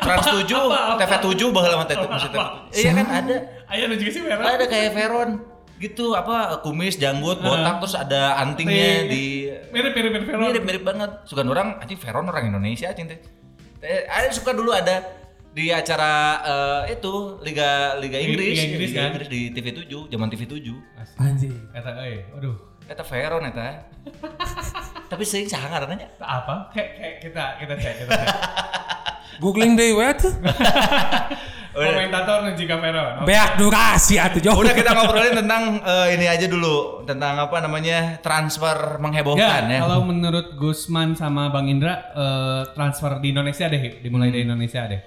[SPEAKER 1] Trans 7, TV 7 baheula mah teh itu maksudnya. Iya kan ada.
[SPEAKER 3] Aya nu juga sih merah.
[SPEAKER 1] Ada kayak Veron gitu apa kumis janggut botak terus ada antingnya
[SPEAKER 3] Anting.
[SPEAKER 1] di
[SPEAKER 3] Mirip mirip mirip Vero.
[SPEAKER 1] mirip mirip banget suka orang anjing Veron orang Indonesia anjing teh Teh, ada suka dulu ada di acara eh, itu Liga Liga Inggris
[SPEAKER 3] Liga Inggris kan?
[SPEAKER 1] di TV 7 zaman TV 7
[SPEAKER 3] Asli.
[SPEAKER 2] anjing
[SPEAKER 3] Eta euy, "Eh, aduh.
[SPEAKER 1] eta Veron eta tapi sering saha ngaranna nya?
[SPEAKER 3] Eta apa? Kayak kayak kita kita cek kita cek.
[SPEAKER 2] googling deui we tuh
[SPEAKER 3] Komentator nu jika Vero.
[SPEAKER 2] beak durasi atuh Johor
[SPEAKER 1] Udah kita ngobrolin tentang eh, ini aja dulu tentang apa namanya transfer menghebohkan ya.
[SPEAKER 3] kalau menurut Gusman sama Bang Indra eh, transfer di Indonesia deh, dimulai dari Indonesia deh.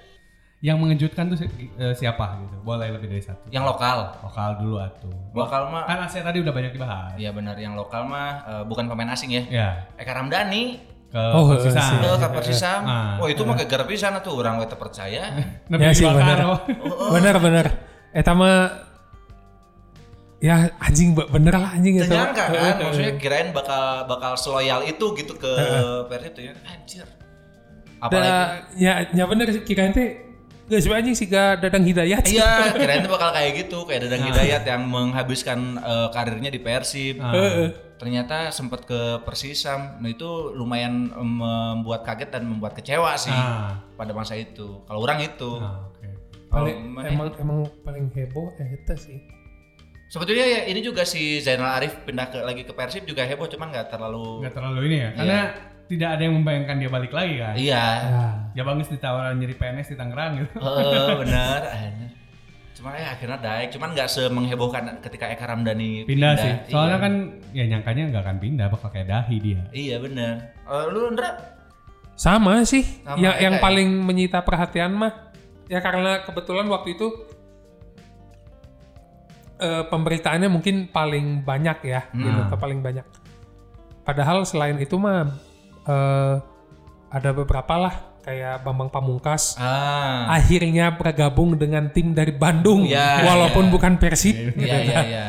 [SPEAKER 3] Yang mengejutkan tuh si- eh, siapa gitu? Boleh lebih dari satu.
[SPEAKER 1] Yang lokal.
[SPEAKER 3] Lokal dulu atuh.
[SPEAKER 1] Lokal mah
[SPEAKER 3] Kan Asia tadi udah banyak dibahas.
[SPEAKER 1] ya benar yang lokal mah eh, bukan pemain asing ya.
[SPEAKER 3] Ya.
[SPEAKER 1] Eka Ramdani
[SPEAKER 3] Ke
[SPEAKER 2] Oh,
[SPEAKER 3] oh,
[SPEAKER 2] sih.
[SPEAKER 1] ke ke Persisam.
[SPEAKER 3] Ah.
[SPEAKER 1] Wah, itu mah gara pisan tuh orang we teu percaya.
[SPEAKER 3] Nepi
[SPEAKER 2] Ya sih,
[SPEAKER 3] dibakar,
[SPEAKER 2] bener.
[SPEAKER 3] oh.
[SPEAKER 2] bener bener eta mah ya anjing be- bener lah anjing
[SPEAKER 1] Teu
[SPEAKER 2] eta mah.
[SPEAKER 1] nyangka kan maksudnya kirain bakal bakal seloyal itu gitu ke
[SPEAKER 3] Eh,
[SPEAKER 1] Persib tuh ya. Anjir. Apalagi
[SPEAKER 2] Da, ya ya bener sih kirain teh geus we anjing siga Dadang Hidayat
[SPEAKER 1] Iya, kirain tuh bakal kayak gitu, kayak
[SPEAKER 3] Nah.
[SPEAKER 1] Dadang Hidayat yang menghabiskan eh, karirnya di Persib.
[SPEAKER 3] Nah.
[SPEAKER 2] Heeh.
[SPEAKER 1] ternyata sempat ke Persisam. Nah itu lumayan em, membuat kaget dan membuat kecewa sih
[SPEAKER 3] Ah.
[SPEAKER 1] pada masa itu. Kalau orang itu.
[SPEAKER 3] Ah, oke.
[SPEAKER 1] Kalau
[SPEAKER 2] paling
[SPEAKER 1] main-
[SPEAKER 2] emang emang paling heboh eh, eta sih
[SPEAKER 1] Sebetulnya ya ini juga si Zainal Arif pindah ke, lagi ke Persib juga heboh, cuman nggak terlalu.
[SPEAKER 3] Nggak terlalu ini ya, karena tidak ada yang membayangkan dia balik lagi kan.
[SPEAKER 1] Iya,
[SPEAKER 2] ya
[SPEAKER 3] Ya bagus ditawaran jadi PNS di Tangerang gitu.
[SPEAKER 1] Heeh, benar. Cuman ya akhirnya daik, cuman nggak semenghebohkan ketika Eka Ramdhani
[SPEAKER 3] Pindah, sih.
[SPEAKER 1] Iya.
[SPEAKER 3] Soalnya kan ya nyangkanya nggak akan pindah bakal kayak dahi dia.
[SPEAKER 1] Iya benar. Eh, lu Ndra?
[SPEAKER 2] Sama sih.
[SPEAKER 1] Sama ya? kayak
[SPEAKER 2] yang yang
[SPEAKER 1] kayak-
[SPEAKER 2] paling menyita perhatian mah ya karena kebetulan waktu itu eh, pemberitaannya mungkin paling banyak ya,
[SPEAKER 1] Hmm.
[SPEAKER 2] gitu, atau paling banyak. Padahal selain itu mah eh, ada beberapa lah kayak Bambang Pamungkas
[SPEAKER 1] Ah.
[SPEAKER 2] akhirnya bergabung dengan tim dari Bandung
[SPEAKER 1] Ya,
[SPEAKER 2] walaupun bukan Persib.
[SPEAKER 1] Iya
[SPEAKER 2] gitu.
[SPEAKER 1] iya iya.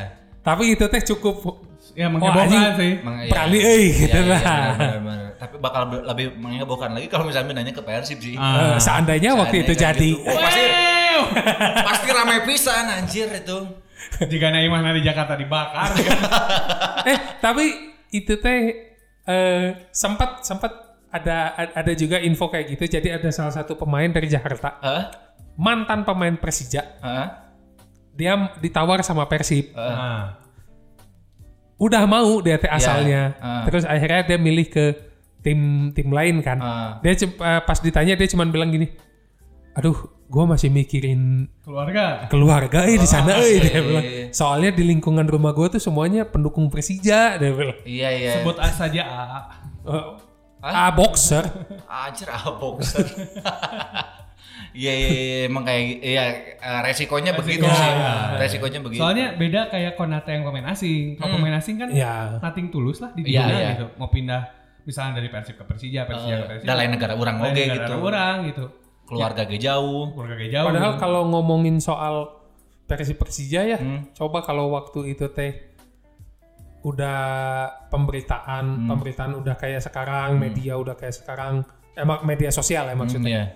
[SPEAKER 2] Tapi itu teh cukup
[SPEAKER 3] Ya menghebohkan
[SPEAKER 2] Oh, anjing.
[SPEAKER 3] sih.
[SPEAKER 1] Emang iya.
[SPEAKER 2] berani euy gitu
[SPEAKER 1] Iya,
[SPEAKER 2] lah.
[SPEAKER 1] iya, benar, benar, benar. Tapi bakal be- lebih menghebohkan lagi kalau misalnya nanya ke Persib sih.
[SPEAKER 3] Ah.
[SPEAKER 2] Eh, seandainya
[SPEAKER 1] Seandainya
[SPEAKER 2] waktu itu
[SPEAKER 1] kan
[SPEAKER 2] jadi
[SPEAKER 1] gitu. Oh, pasti pasti ramai pisan anjir itu.
[SPEAKER 3] Jika Naimah di Jakarta dibakar.
[SPEAKER 2] eh tapi itu teh eh, sempat sempat ada a- ada juga info kayak gitu jadi ada salah satu pemain dari Jakarta
[SPEAKER 1] Hah?
[SPEAKER 2] mantan pemain Persija
[SPEAKER 1] Hah?
[SPEAKER 2] dia m- ditawar sama Persib
[SPEAKER 1] Ah.
[SPEAKER 3] Nah,
[SPEAKER 2] udah mau dia teh asalnya
[SPEAKER 1] ah.
[SPEAKER 2] terus akhirnya dia milih ke tim tim lain kan
[SPEAKER 1] Ah.
[SPEAKER 2] dia cem- eh, pas ditanya dia cuman bilang gini aduh gue masih mikirin
[SPEAKER 3] keluarga
[SPEAKER 2] keluarga eh di sana eh dia
[SPEAKER 1] iya,
[SPEAKER 2] bilang.
[SPEAKER 1] iya.
[SPEAKER 2] Soalnya di lingkungan rumah gue tuh semuanya pendukung Persija dia bilang.
[SPEAKER 1] Iya iya.
[SPEAKER 3] sebut A saja AA
[SPEAKER 2] Eh,
[SPEAKER 1] Hah?
[SPEAKER 2] ah boxer.
[SPEAKER 1] Anjir ah boxer. Iya iya iya, emang kayak iya eh, resikonya begitu
[SPEAKER 3] Resiko,
[SPEAKER 1] sih.
[SPEAKER 3] iya.
[SPEAKER 1] Resikonya begitu.
[SPEAKER 3] soalnya beda kayak Konate yang pemain asing kalau pemain asing kan
[SPEAKER 2] ya.
[SPEAKER 3] nating tulus lah di
[SPEAKER 1] Hmm. Iya,
[SPEAKER 3] dunia
[SPEAKER 1] iya.
[SPEAKER 3] gitu mau pindah misalnya dari Persib ke Persija Persija ke
[SPEAKER 1] Eh,
[SPEAKER 3] Persib
[SPEAKER 1] dah lain negara orang oge gitu.
[SPEAKER 3] orang gitu
[SPEAKER 1] Keluarga ge jauh.
[SPEAKER 3] keluarga kayak jauh
[SPEAKER 2] Padahal kalau ngomongin soal Persib Persija ya,
[SPEAKER 1] Hmm.
[SPEAKER 2] coba kalau waktu itu teh udah
[SPEAKER 1] Hmm.
[SPEAKER 2] pemberitaan, pemberitaan udah kayak sekarang, media udah kayak sekarang, emang media sosial ya maksudnya.
[SPEAKER 1] Iya.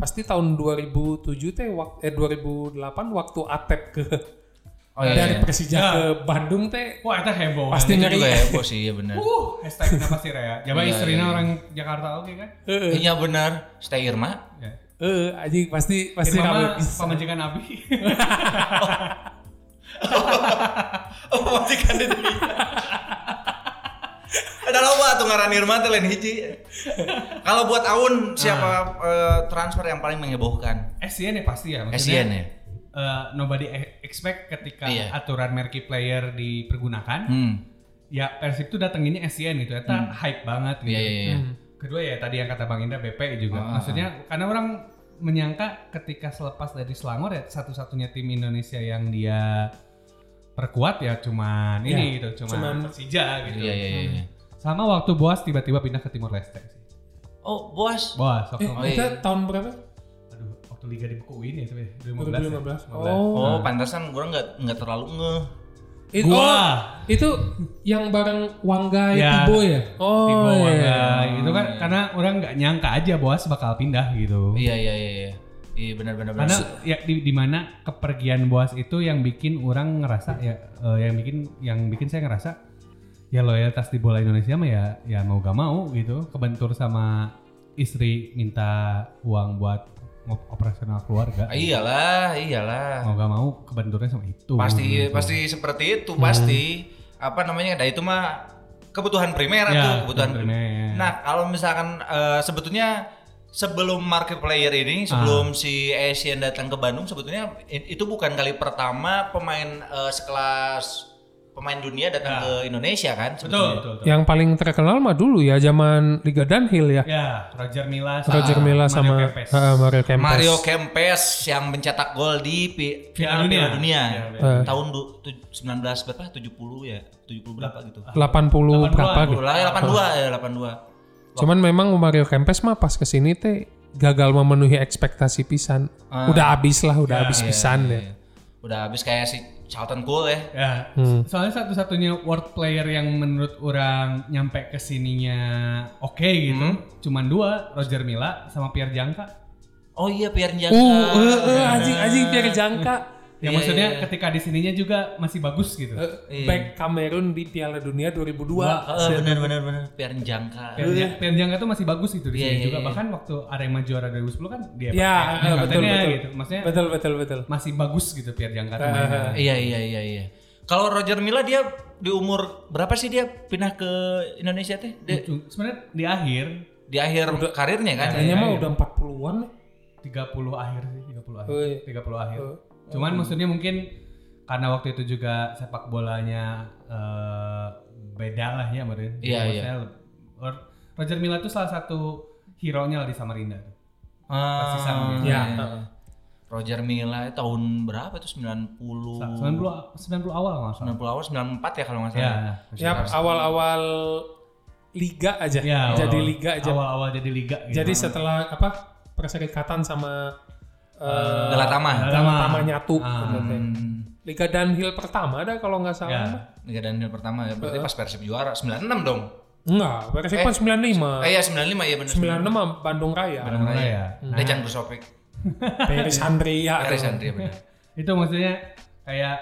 [SPEAKER 2] Pasti tahun 2007 teh wak- eh 2008 waktu Atep ke
[SPEAKER 1] Oh iya.
[SPEAKER 2] dari
[SPEAKER 1] iya.
[SPEAKER 2] Persija
[SPEAKER 3] Ya.
[SPEAKER 2] ke Bandung teh
[SPEAKER 3] wah itu heboh
[SPEAKER 2] Pasti.
[SPEAKER 1] Itu
[SPEAKER 2] ngeri.
[SPEAKER 1] juga ya bos iya benar.
[SPEAKER 3] uh hashtagnya pasti Rea Jawa
[SPEAKER 1] Iya,
[SPEAKER 3] istrinya
[SPEAKER 1] iya.
[SPEAKER 3] orang Jakarta oke kan
[SPEAKER 2] eh
[SPEAKER 1] Iya benar. Stay Irma.
[SPEAKER 3] ya.
[SPEAKER 2] eh anjing pasti pasti
[SPEAKER 3] Irma
[SPEAKER 2] rame
[SPEAKER 3] mah
[SPEAKER 2] bisa.
[SPEAKER 3] pemajikan Abi
[SPEAKER 1] Oh majikan di Ada loba tuh ngaran Irma teh lain hiji. Kalau buat Aun siapa eh, transfer yang paling menghebohkan?
[SPEAKER 3] SCN ya pasti ya
[SPEAKER 1] SCN
[SPEAKER 3] maksudnya
[SPEAKER 1] ya.
[SPEAKER 3] eh, nobody e- expect ketika
[SPEAKER 1] Iya.
[SPEAKER 3] aturan marquee player dipergunakan
[SPEAKER 1] Hmm.
[SPEAKER 3] ya Persib tuh datanginnya SCN gitu ya Eta hype banget gitu
[SPEAKER 1] Iya iya iya.
[SPEAKER 2] Hmm.
[SPEAKER 3] kedua ya tadi yang kata Bang Indra BP juga
[SPEAKER 1] Ah.
[SPEAKER 3] maksudnya karena orang menyangka ketika selepas dari Selangor ya satu-satunya tim Indonesia yang dia perkuat ya cuman ini gitu cuman,
[SPEAKER 2] cuman-
[SPEAKER 3] Persija gitu
[SPEAKER 1] Iya iya iya, iya.
[SPEAKER 3] sama waktu Boas tiba-tiba pindah ke Timor Leste sih
[SPEAKER 1] Oh, Boas.
[SPEAKER 3] Boas waktu
[SPEAKER 2] Eh,
[SPEAKER 1] Oh,
[SPEAKER 2] kita
[SPEAKER 1] iya.
[SPEAKER 2] tahun berapa?
[SPEAKER 1] Eh.
[SPEAKER 3] aduh waktu liga dibekuin ya tapi
[SPEAKER 2] 2015.
[SPEAKER 3] 2015 ya?
[SPEAKER 1] Oh,
[SPEAKER 2] Oh.
[SPEAKER 1] pantasan gue nggak nggak terlalu ngeh.
[SPEAKER 2] It-
[SPEAKER 3] gua
[SPEAKER 2] oh, itu yang bareng Wangga
[SPEAKER 3] Ya.
[SPEAKER 2] Tibo ya? Oh,
[SPEAKER 3] Tibo
[SPEAKER 2] iya.
[SPEAKER 3] Wangga gitu kan karena orang nggak nyangka aja Boas bakal pindah gitu
[SPEAKER 1] Iya iya iya iya. Iya benar benar benar.
[SPEAKER 3] karena ya di, di mana kepergian Boas itu yang bikin orang ngerasa ya eh, yang bikin yang bikin saya ngerasa ya loyalitas di bola Indonesia mah ya ya mau gak mau gitu kebentur sama istri minta uang buat op- operasional keluarga
[SPEAKER 1] Ah, iyalah, iyalah.
[SPEAKER 3] mau gak mau kebenturnya sama
[SPEAKER 1] Oh.
[SPEAKER 3] itu
[SPEAKER 1] Pasti
[SPEAKER 3] gitu.
[SPEAKER 1] pasti seperti itu pasti. Apa namanya? Nah, itu mah kebutuhan primer kan tuh,
[SPEAKER 3] ya,
[SPEAKER 1] Iya, kebutuhan primer.
[SPEAKER 3] primer.
[SPEAKER 1] Nah, kalau misalkan eh, sebetulnya sebelum market player ini, sebelum si Asian datang ke Bandung, sebetulnya i- itu bukan kali pertama pemain eh, sekelas pemain dunia datang ke Indonesia kan?
[SPEAKER 3] betul,
[SPEAKER 1] sebetulnya.
[SPEAKER 3] betul, betul.
[SPEAKER 2] Yang paling terkenal mah dulu ya zaman Liga Dunhill ya.
[SPEAKER 3] Ya, Roger Mila sama
[SPEAKER 2] Roger Milla
[SPEAKER 3] Mario
[SPEAKER 2] sama
[SPEAKER 3] Kempes.
[SPEAKER 2] eh, Mario Kempes.
[SPEAKER 1] Mario Kempes yang mencetak gol di pi- final
[SPEAKER 3] dunia.
[SPEAKER 1] Piala Dunia,
[SPEAKER 3] Iya,
[SPEAKER 2] Eh.
[SPEAKER 1] tahun du- tu- 19 berapa 70 ya 70 berapa gitu
[SPEAKER 2] Ah. 80 berapa
[SPEAKER 3] 80-an,
[SPEAKER 2] gitu.
[SPEAKER 1] lah ya 82 ya 82
[SPEAKER 2] Cuman memang Mario Kempes mah pas kesini teh gagal memenuhi ekspektasi pisan. Udah abis lah, udah abis pisan ya.
[SPEAKER 1] udah habis kayak si Charlton Cole ya
[SPEAKER 3] Ya, soalnya satu-satunya world player yang menurut orang nyampe ke sininya oke gitu,
[SPEAKER 2] Hmm.
[SPEAKER 3] cuman dua, Roger Mila sama Pierre Jangka.
[SPEAKER 1] oh iya Pierre Iya, Njaka
[SPEAKER 2] Uh, eh,
[SPEAKER 1] ya,
[SPEAKER 2] eh, anjing anjing biar jangka.
[SPEAKER 3] Ya maksudnya
[SPEAKER 2] iya,
[SPEAKER 3] ketika di sininya juga masih bagus gitu.
[SPEAKER 2] Eh, Back Kamerun di Piala Dunia 2002.
[SPEAKER 1] Eh, bener bener bener Pierre Njaka
[SPEAKER 3] Pierre, Jang-
[SPEAKER 2] iya.
[SPEAKER 3] Pierre Jangka tuh masih bagus gitu di
[SPEAKER 1] Iya,
[SPEAKER 3] sini
[SPEAKER 1] iya,
[SPEAKER 3] juga.
[SPEAKER 1] iya.
[SPEAKER 3] Bahkan waktu Arema juara 2010 kan
[SPEAKER 2] Ya,
[SPEAKER 3] dia pakai
[SPEAKER 2] eh, betul
[SPEAKER 3] kaptennya
[SPEAKER 2] betul.
[SPEAKER 3] gitu. Maksudnya
[SPEAKER 2] Betul Eh, betul betul.
[SPEAKER 3] masih bagus gitu Pierre Jangka tuh mainnya.
[SPEAKER 1] iya iya iya iya kalau Roger Milla dia di umur berapa sih dia pindah ke Indonesia teh di,
[SPEAKER 3] Sebenarnya di akhir
[SPEAKER 1] di akhir karirnya kan
[SPEAKER 2] Kayaknya mah udah 40-an. ya.
[SPEAKER 3] 30 akhir sih, 30 akhir.
[SPEAKER 2] Oh, iya.
[SPEAKER 3] 30 akhir.
[SPEAKER 2] Oh.
[SPEAKER 3] Cuman maksudnya mungkin karena waktu itu juga sepak bolanya eh, beda lah ya Marin.
[SPEAKER 1] Iya, iya.
[SPEAKER 3] Roger Milla itu salah satu hero-nya lah di Samarinda.
[SPEAKER 1] Ah,
[SPEAKER 3] Persisan gitu.
[SPEAKER 1] iya.
[SPEAKER 2] Ya.
[SPEAKER 1] Roger Milla tahun berapa itu 90 90
[SPEAKER 3] 90 90 awal nggak salah.
[SPEAKER 1] awal 94 ya kalau nggak
[SPEAKER 3] Ya,
[SPEAKER 1] salah.
[SPEAKER 2] Ya awal-awal liga aja.
[SPEAKER 3] ya,
[SPEAKER 2] jadi
[SPEAKER 3] awal-awal.
[SPEAKER 2] liga aja.
[SPEAKER 3] Awal-awal jadi liga gitu.
[SPEAKER 2] Jadi setelah apa? Perserikatan sama eh
[SPEAKER 1] Galatama.
[SPEAKER 3] Galatama.
[SPEAKER 2] Galatama nyatu.
[SPEAKER 3] Ah.
[SPEAKER 2] gitu teh.
[SPEAKER 1] Hmm,
[SPEAKER 2] Liga Dunhill pertama ada kalau nggak salah.
[SPEAKER 3] Ya.
[SPEAKER 1] Liga Daniel pertama ya berarti pas Persib juara 96 dong.
[SPEAKER 2] Enggak, Persib kan 95.
[SPEAKER 1] Ah iya 95 ya benar.
[SPEAKER 2] 96 mah Bandung Raya.
[SPEAKER 1] Bandung Raya.
[SPEAKER 3] Raya.
[SPEAKER 1] Nah. Dejan Busopik,
[SPEAKER 2] Paris Andrea.
[SPEAKER 1] Aris Andrea benar.
[SPEAKER 3] itu maksudnya kayak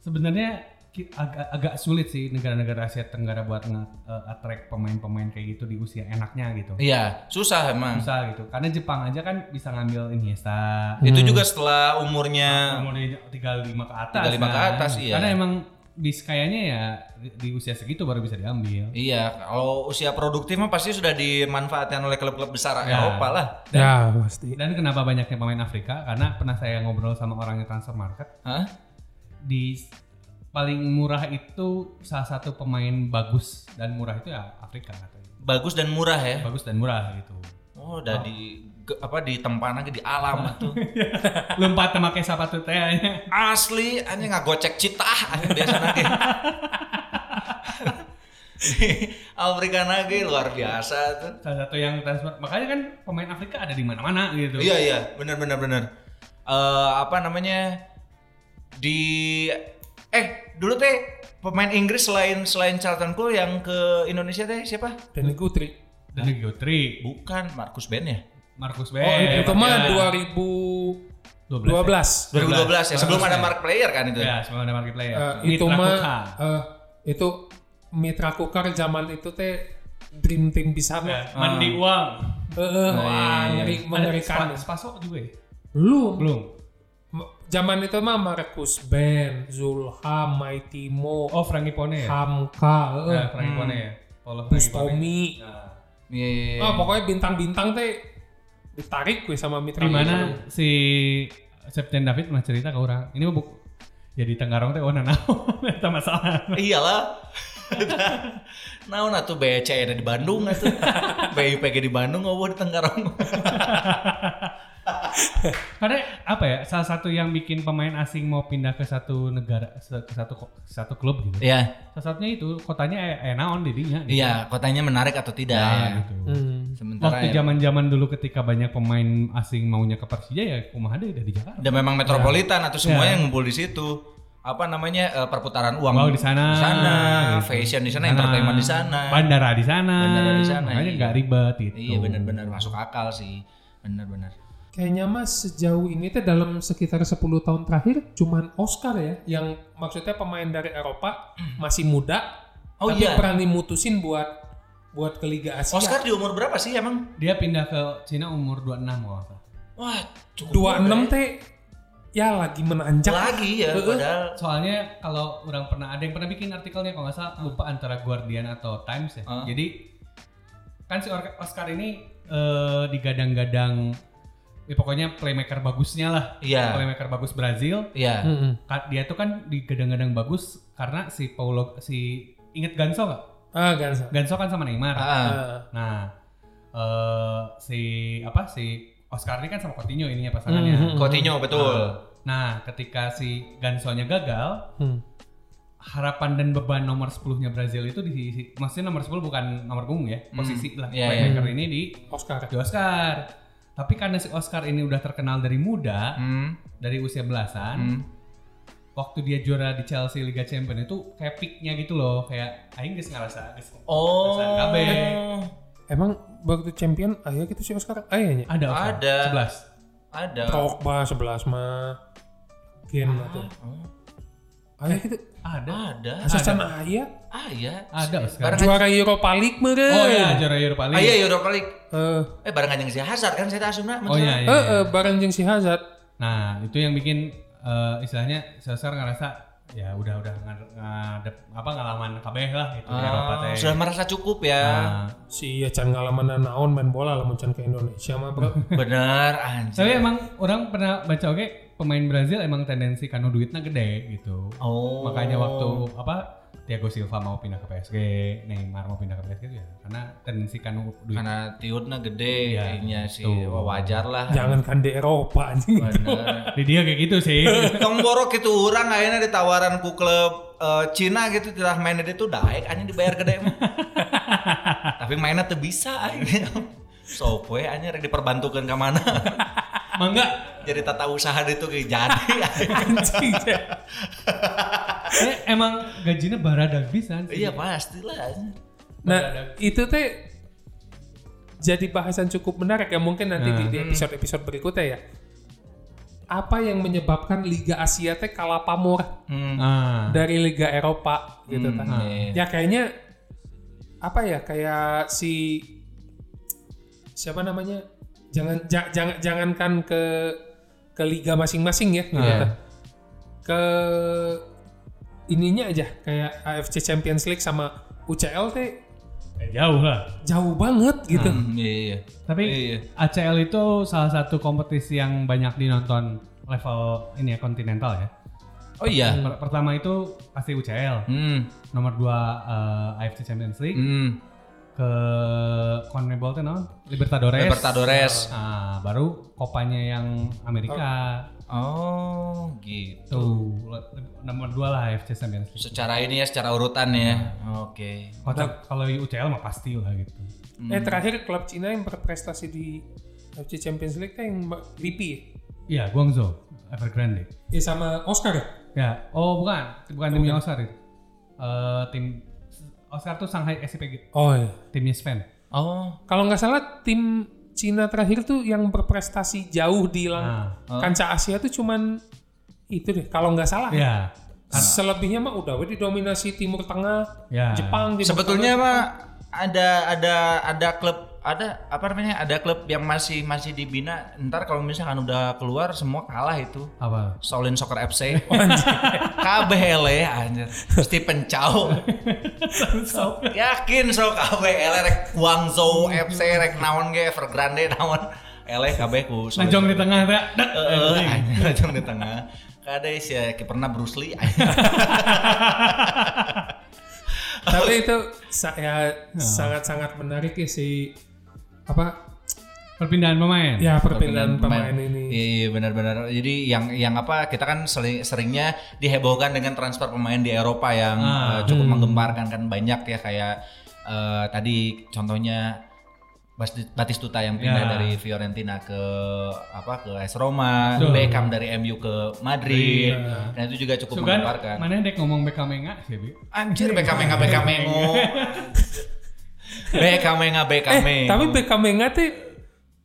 [SPEAKER 3] sebenarnya ki- agak agak sulit sih negara-negara Asia Tenggara buat nge-attract pemain-pemain kayak gitu di usia enaknya gitu.
[SPEAKER 1] Iya, susah emang.
[SPEAKER 3] Susah gitu. Karena Jepang aja kan bisa ngambil Iniesta.
[SPEAKER 1] Iya, Itu juga setelah umurnya
[SPEAKER 3] Umurnya 35 ke atas.
[SPEAKER 1] 35 Iya. ke
[SPEAKER 3] kan.
[SPEAKER 1] atas, iya.
[SPEAKER 3] Karena emang bis kayaknya ya di- di usia segitu baru bisa diambil.
[SPEAKER 1] Iya, kalau usia produktif mah pasti sudah dimanfaatkan oleh klub-klub besar
[SPEAKER 3] Ya.
[SPEAKER 1] Eropa lah.
[SPEAKER 2] Ya pasti.
[SPEAKER 3] Dan kenapa banyaknya pemain Afrika? Karena pernah saya ngobrol sama orangnya transfer market
[SPEAKER 1] Hah?
[SPEAKER 3] di paling murah itu salah satu pemain bagus dan murah itu ya Afrika katanya.
[SPEAKER 1] Bagus dan murah ya.
[SPEAKER 3] Bagus dan murah gitu.
[SPEAKER 1] Oh, udah di ge- apa di tempat lagi di alam tuh.
[SPEAKER 3] Lompat pakai sepatu teh nya.
[SPEAKER 1] Asli, anjing nggak gocek citah anjing biasa nage. Di Afrika nage luar biasa tuh.
[SPEAKER 3] salah satu yang transfer makanya kan pemain Afrika ada di mana-mana gitu
[SPEAKER 1] Iya iya, benar benar benar. Eh, apa namanya di eh dulu teh pemain Inggris selain selain Charlton Cole yang ke Indonesia teh siapa?
[SPEAKER 2] Dan Putri.
[SPEAKER 3] dan Hugo Tri,
[SPEAKER 1] Bukan Marcus Ben ya.
[SPEAKER 3] Marcus Iya.
[SPEAKER 2] Oh
[SPEAKER 3] Bell
[SPEAKER 2] itu mah
[SPEAKER 1] 2012
[SPEAKER 2] 2012.
[SPEAKER 3] 2012
[SPEAKER 1] ya, sebelum
[SPEAKER 3] 2012.
[SPEAKER 1] ada Mark Player kan itu.
[SPEAKER 3] ya sebelum ada market player
[SPEAKER 2] Eh, itu
[SPEAKER 3] Mitra
[SPEAKER 2] mah
[SPEAKER 3] Kukha.
[SPEAKER 2] eh, itu Mitra Kukar zaman itu teh dream team bisa mah.
[SPEAKER 3] Ya, mandi uang
[SPEAKER 2] Heeh,
[SPEAKER 1] Oh, iya,
[SPEAKER 2] wah,
[SPEAKER 1] iya, iya.
[SPEAKER 2] ngeri- mengerikan.
[SPEAKER 3] Ada Spa- Spaso juga ya?
[SPEAKER 2] Belum.
[SPEAKER 3] belum
[SPEAKER 2] M- Zaman itu mah Marcus Ben, Zulham, Mighty Mo,
[SPEAKER 3] oh Frankie
[SPEAKER 1] Iya.
[SPEAKER 3] Pone ya
[SPEAKER 2] Hamka,
[SPEAKER 3] ya
[SPEAKER 2] eh,
[SPEAKER 3] Frankie
[SPEAKER 1] Hmm.
[SPEAKER 3] Pone ya Paulo Frankie Pone
[SPEAKER 2] Bustomi.
[SPEAKER 3] Nah,
[SPEAKER 1] Iya, iya, iya.
[SPEAKER 2] Ah, pokoknya bintang-bintang teh ditarik gue sama Mitra.
[SPEAKER 3] di mana
[SPEAKER 2] Kukar.
[SPEAKER 3] si Septian David mah cerita ke orang ini mah buku jadi tenggarong teh oh nanau itu masalah
[SPEAKER 1] Iyalah. Naon atuh BC ada di Bandung atuh. BUPG di Bandung ngobrol di Tenggarong.
[SPEAKER 3] Karena apa ya? Salah satu yang bikin pemain asing mau pindah ke satu negara, se- ke satu ko- satu klub gitu.
[SPEAKER 1] Iya,
[SPEAKER 3] Salah satunya itu kotanya e- enaon didinya. gitu.
[SPEAKER 1] iya, kotanya menarik atau tidak.
[SPEAKER 3] Ya,
[SPEAKER 1] ya.
[SPEAKER 3] gitu.
[SPEAKER 2] Hmm.
[SPEAKER 1] Sementara
[SPEAKER 3] Waktu
[SPEAKER 1] ya,
[SPEAKER 3] zaman-zaman dulu ketika banyak pemain asing maunya ke Persija ya kumaha deh udah di Jakarta.
[SPEAKER 1] dan memang metropolitan atau
[SPEAKER 3] Ya.
[SPEAKER 1] semuanya yang ngumpul di situ. Apa namanya? eh, perputaran uang
[SPEAKER 3] Wow, di
[SPEAKER 1] Di
[SPEAKER 3] sana.
[SPEAKER 1] sana,
[SPEAKER 3] gitu.
[SPEAKER 1] fashion di sana,
[SPEAKER 3] Di sana.
[SPEAKER 1] entertainment di sana.
[SPEAKER 3] Bandara di sana.
[SPEAKER 1] Bandara di sana,
[SPEAKER 3] Makanya
[SPEAKER 1] iya.
[SPEAKER 3] nggak ribet gitu. Ya.
[SPEAKER 1] Iya, benar-benar masuk akal sih. Benar-benar.
[SPEAKER 2] Kayaknya mas sejauh ini teh dalam sekitar 10 tahun terakhir cuman Oscar ya yang maksudnya pemain dari Eropa masih muda
[SPEAKER 1] Oh
[SPEAKER 2] tapi
[SPEAKER 1] iya.
[SPEAKER 2] berani mutusin buat buat ke Liga Asia.
[SPEAKER 1] Oscar di umur berapa sih emang?
[SPEAKER 3] Dia pindah ke Cina umur 26 kalau nggak salah.
[SPEAKER 1] Wah, cukup
[SPEAKER 2] 26
[SPEAKER 1] muda
[SPEAKER 2] teh ya lagi
[SPEAKER 1] ya.
[SPEAKER 2] menanjak.
[SPEAKER 1] lagi ya
[SPEAKER 2] Heeh.
[SPEAKER 1] padahal.
[SPEAKER 3] Soalnya kalau orang pernah ada yang pernah bikin artikelnya kalau nggak salah lupa antara Guardian atau Times ya.
[SPEAKER 1] Heeh.
[SPEAKER 3] Jadi kan si Or- Oscar ini eh, digadang-gadang ya pokoknya playmaker bagusnya lah.
[SPEAKER 1] Iya.
[SPEAKER 3] Playmaker bagus Brazil.
[SPEAKER 1] Iya.
[SPEAKER 2] Mm-mm.
[SPEAKER 3] Ka- Dia tuh kan digadang-gadang bagus karena si Paulo si inget Ganso nggak?
[SPEAKER 2] Ah, Gansa.
[SPEAKER 3] Ganso kan sama Neymar.
[SPEAKER 1] Ah,
[SPEAKER 2] Ah.
[SPEAKER 3] Nah, eh, si apa si Oscar ini kan sama Coutinho ininya
[SPEAKER 2] Mhm.
[SPEAKER 3] pasangannya.
[SPEAKER 1] Coutinho betul.
[SPEAKER 3] Nah, nah, ketika si Gansonya gagal,
[SPEAKER 2] Hmm.
[SPEAKER 3] harapan dan beban nomor 10-nya Brazil itu di maksudnya nomor 10 bukan nomor punggung ya. Posisi lah
[SPEAKER 1] Iya,
[SPEAKER 3] playmaker ini di,
[SPEAKER 2] Oscar. kan?
[SPEAKER 3] di Oscar. Tapi karena si Oscar ini udah terkenal dari muda,
[SPEAKER 1] Hmm.
[SPEAKER 3] dari usia belasan,
[SPEAKER 1] Hmm.
[SPEAKER 3] waktu dia juara di Chelsea Liga Champions itu kayak peak-nya gitu loh, kayak aing geus ngerasa geus
[SPEAKER 1] Oh.
[SPEAKER 3] ngerasa kabeh.
[SPEAKER 2] Emang waktu champion akhirnya gitu sih Oscar. Ayahnya.
[SPEAKER 3] Ada Oscar,
[SPEAKER 1] Ada.
[SPEAKER 3] 11.
[SPEAKER 1] Ada.
[SPEAKER 2] Pogba 11 mah.
[SPEAKER 3] Ah.
[SPEAKER 2] Gen lah tuh.
[SPEAKER 1] Oh,
[SPEAKER 2] Ayah gitu.
[SPEAKER 3] Ada.
[SPEAKER 1] Ada.
[SPEAKER 2] Asa sana ayah.
[SPEAKER 1] Ah iya.
[SPEAKER 3] Ada Oscar.
[SPEAKER 1] Barang-
[SPEAKER 2] Juara Europa League meren.
[SPEAKER 3] Oh iya, juara Europa
[SPEAKER 1] Ah iya
[SPEAKER 3] League.
[SPEAKER 1] Europa League.
[SPEAKER 2] Eh,
[SPEAKER 1] Eh barang anjing si Hazard kan saya tak asumna.
[SPEAKER 3] Oh iya, iya.
[SPEAKER 2] eh, eh, bareng jeung si Hazard.
[SPEAKER 3] Nah, itu yang bikin eh, istilahnya Sosar ngerasa ya udah udah ngadep, ngadep apa ngalaman kabeh lah gitu di Eropa
[SPEAKER 1] Ah,
[SPEAKER 3] teh.
[SPEAKER 1] sudah merasa cukup ya.
[SPEAKER 3] Nah,
[SPEAKER 2] Si ya can ngalaman naon main bola lamun can ke Indonesia mah bro.
[SPEAKER 1] Bener anjing.
[SPEAKER 3] tapi emang orang pernah baca oke pemain Brazil emang tendensi karena duitnya gede gitu.
[SPEAKER 1] Oh.
[SPEAKER 3] Makanya waktu apa Thiago Silva mau pindah ke PSG, Neymar mau pindah ke PSG ya karena tendensi karena duit.
[SPEAKER 1] karena tiutnya gede
[SPEAKER 3] Iya,
[SPEAKER 1] kayaknya sih.
[SPEAKER 3] betul.
[SPEAKER 1] Wah, wajar lah.
[SPEAKER 2] Jangan kan di Eropa anjing.
[SPEAKER 1] Bener.
[SPEAKER 3] Di dia kayak gitu sih.
[SPEAKER 1] Tong borok itu orang akhirnya ditawaran ku klub eh, Cina gitu telah mainnya dia tuh daek anjing dibayar gede mah. Tapi mainnya tuh bisa anjing. So poe anjing rek diperbantukeun ka mana.
[SPEAKER 3] Mangga
[SPEAKER 1] Jadi tata usaha dia tuh kayak jadi.
[SPEAKER 2] Anjing. ya.
[SPEAKER 3] eh, emang gajinya baradak pisan sih.
[SPEAKER 1] iya pastilah. anjing.
[SPEAKER 2] Nah, itu teh jadi bahasan cukup menarik ya mungkin nanti di- di episode-episode berikutnya ya. Apa yang menyebabkan Liga Asia teh kalah pamor
[SPEAKER 1] Hmm.
[SPEAKER 3] Ah.
[SPEAKER 2] dari Liga Eropa gitu kan.
[SPEAKER 1] Iya.
[SPEAKER 2] Ya kayaknya apa ya kayak si siapa namanya? Jangan ja- jangan jangankan ke ke liga masing-masing ya gitu.
[SPEAKER 3] Iya.
[SPEAKER 2] Ke ininya aja kayak AFC Champions League sama UCL teh
[SPEAKER 3] Eh, jauh lah.
[SPEAKER 2] jauh banget gitu.
[SPEAKER 1] Hmm, iya, iya.
[SPEAKER 3] Tapi
[SPEAKER 1] Iya, iya.
[SPEAKER 3] ACL itu salah satu kompetisi yang banyak dinonton level ini ya kontinental ya.
[SPEAKER 1] Oh iya.
[SPEAKER 3] Per- Pertama itu pasti UCL,
[SPEAKER 1] Hmm.
[SPEAKER 3] nomor dua eh, AFC Champions League,
[SPEAKER 1] Hmm.
[SPEAKER 3] ke CONMEBOL itu naon? Libertadores.
[SPEAKER 1] Libertadores.
[SPEAKER 3] Ah, baru kopanya yang Amerika.
[SPEAKER 1] Oh, gitu.
[SPEAKER 3] Tuh, le- nomor dua lah AFC Champions League.
[SPEAKER 1] Secara ini ya, secara urutan
[SPEAKER 3] Iya.
[SPEAKER 1] ya. Oke.
[SPEAKER 3] Kocak kalau UCL mah pasti lah gitu.
[SPEAKER 2] Eh terakhir klub Cina yang berprestasi di AFC Champions League teh yang ba- Lipi ya?
[SPEAKER 3] Iya, Guangzhou, Evergrande.
[SPEAKER 2] ya sama Oscar ya?
[SPEAKER 3] Ya, oh bukan, bukan timnya Oscar itu. Eh, tim Oscar tuh Shanghai SCPG,
[SPEAKER 2] Oh iya.
[SPEAKER 3] timnya Sven.
[SPEAKER 1] Oh.
[SPEAKER 2] Kalau nggak salah tim Cina terakhir tuh yang berprestasi jauh di lang-
[SPEAKER 3] Nah,
[SPEAKER 2] kancah Asia tuh cuman itu deh kalau nggak salah.
[SPEAKER 3] ya,
[SPEAKER 2] Selebihnya mah udah we didominasi Timur Tengah,
[SPEAKER 3] ya.
[SPEAKER 2] Jepang Timur
[SPEAKER 1] Sebetulnya mah ada ada ada klub ada apa namanya ada klub yang masih masih dibina ntar kalau misalkan udah keluar semua kalah itu
[SPEAKER 3] apa?
[SPEAKER 1] Shaolin Soccer FC KBL ya, anjir Stephen Chow yakin so KBL ya, rek Guangzhou FC rek naon ge Evergrande naon ele KB ku Shaolin
[SPEAKER 3] Najong di tengah ya.
[SPEAKER 1] Heeh, anjing, rajong di tengah. Kada sih ya, kayak pernah Bruce Lee.
[SPEAKER 2] Tengah. Tapi itu saya sangat-sangat menarik ya si apa
[SPEAKER 3] Perpindahan pemain.
[SPEAKER 2] ya perpindahan pemain, ini.
[SPEAKER 1] Iya, iya, benar-benar. Jadi yang yang apa kita kan sering, seringnya dihebohkan dengan transfer pemain di Eropa yang
[SPEAKER 3] Ah.
[SPEAKER 1] eh,
[SPEAKER 2] Hmm.
[SPEAKER 1] cukup menggemparkan kan banyak ya kayak eh, tadi contohnya Basti- Batistuta yang pindah
[SPEAKER 3] Ya.
[SPEAKER 1] dari Fiorentina ke apa ke AS Roma,
[SPEAKER 3] Betul.
[SPEAKER 1] Beckham dari MU ke Madrid.
[SPEAKER 2] Iya.
[SPEAKER 1] Nah, itu juga cukup
[SPEAKER 3] Sugan,
[SPEAKER 1] menggemparkan.
[SPEAKER 3] mana dek ngomong Beckham enggak sih, Bi?
[SPEAKER 1] Anjir BKM BKM BKM
[SPEAKER 2] Eh,
[SPEAKER 1] BKM BKM.
[SPEAKER 2] Eh, tapi BKM teh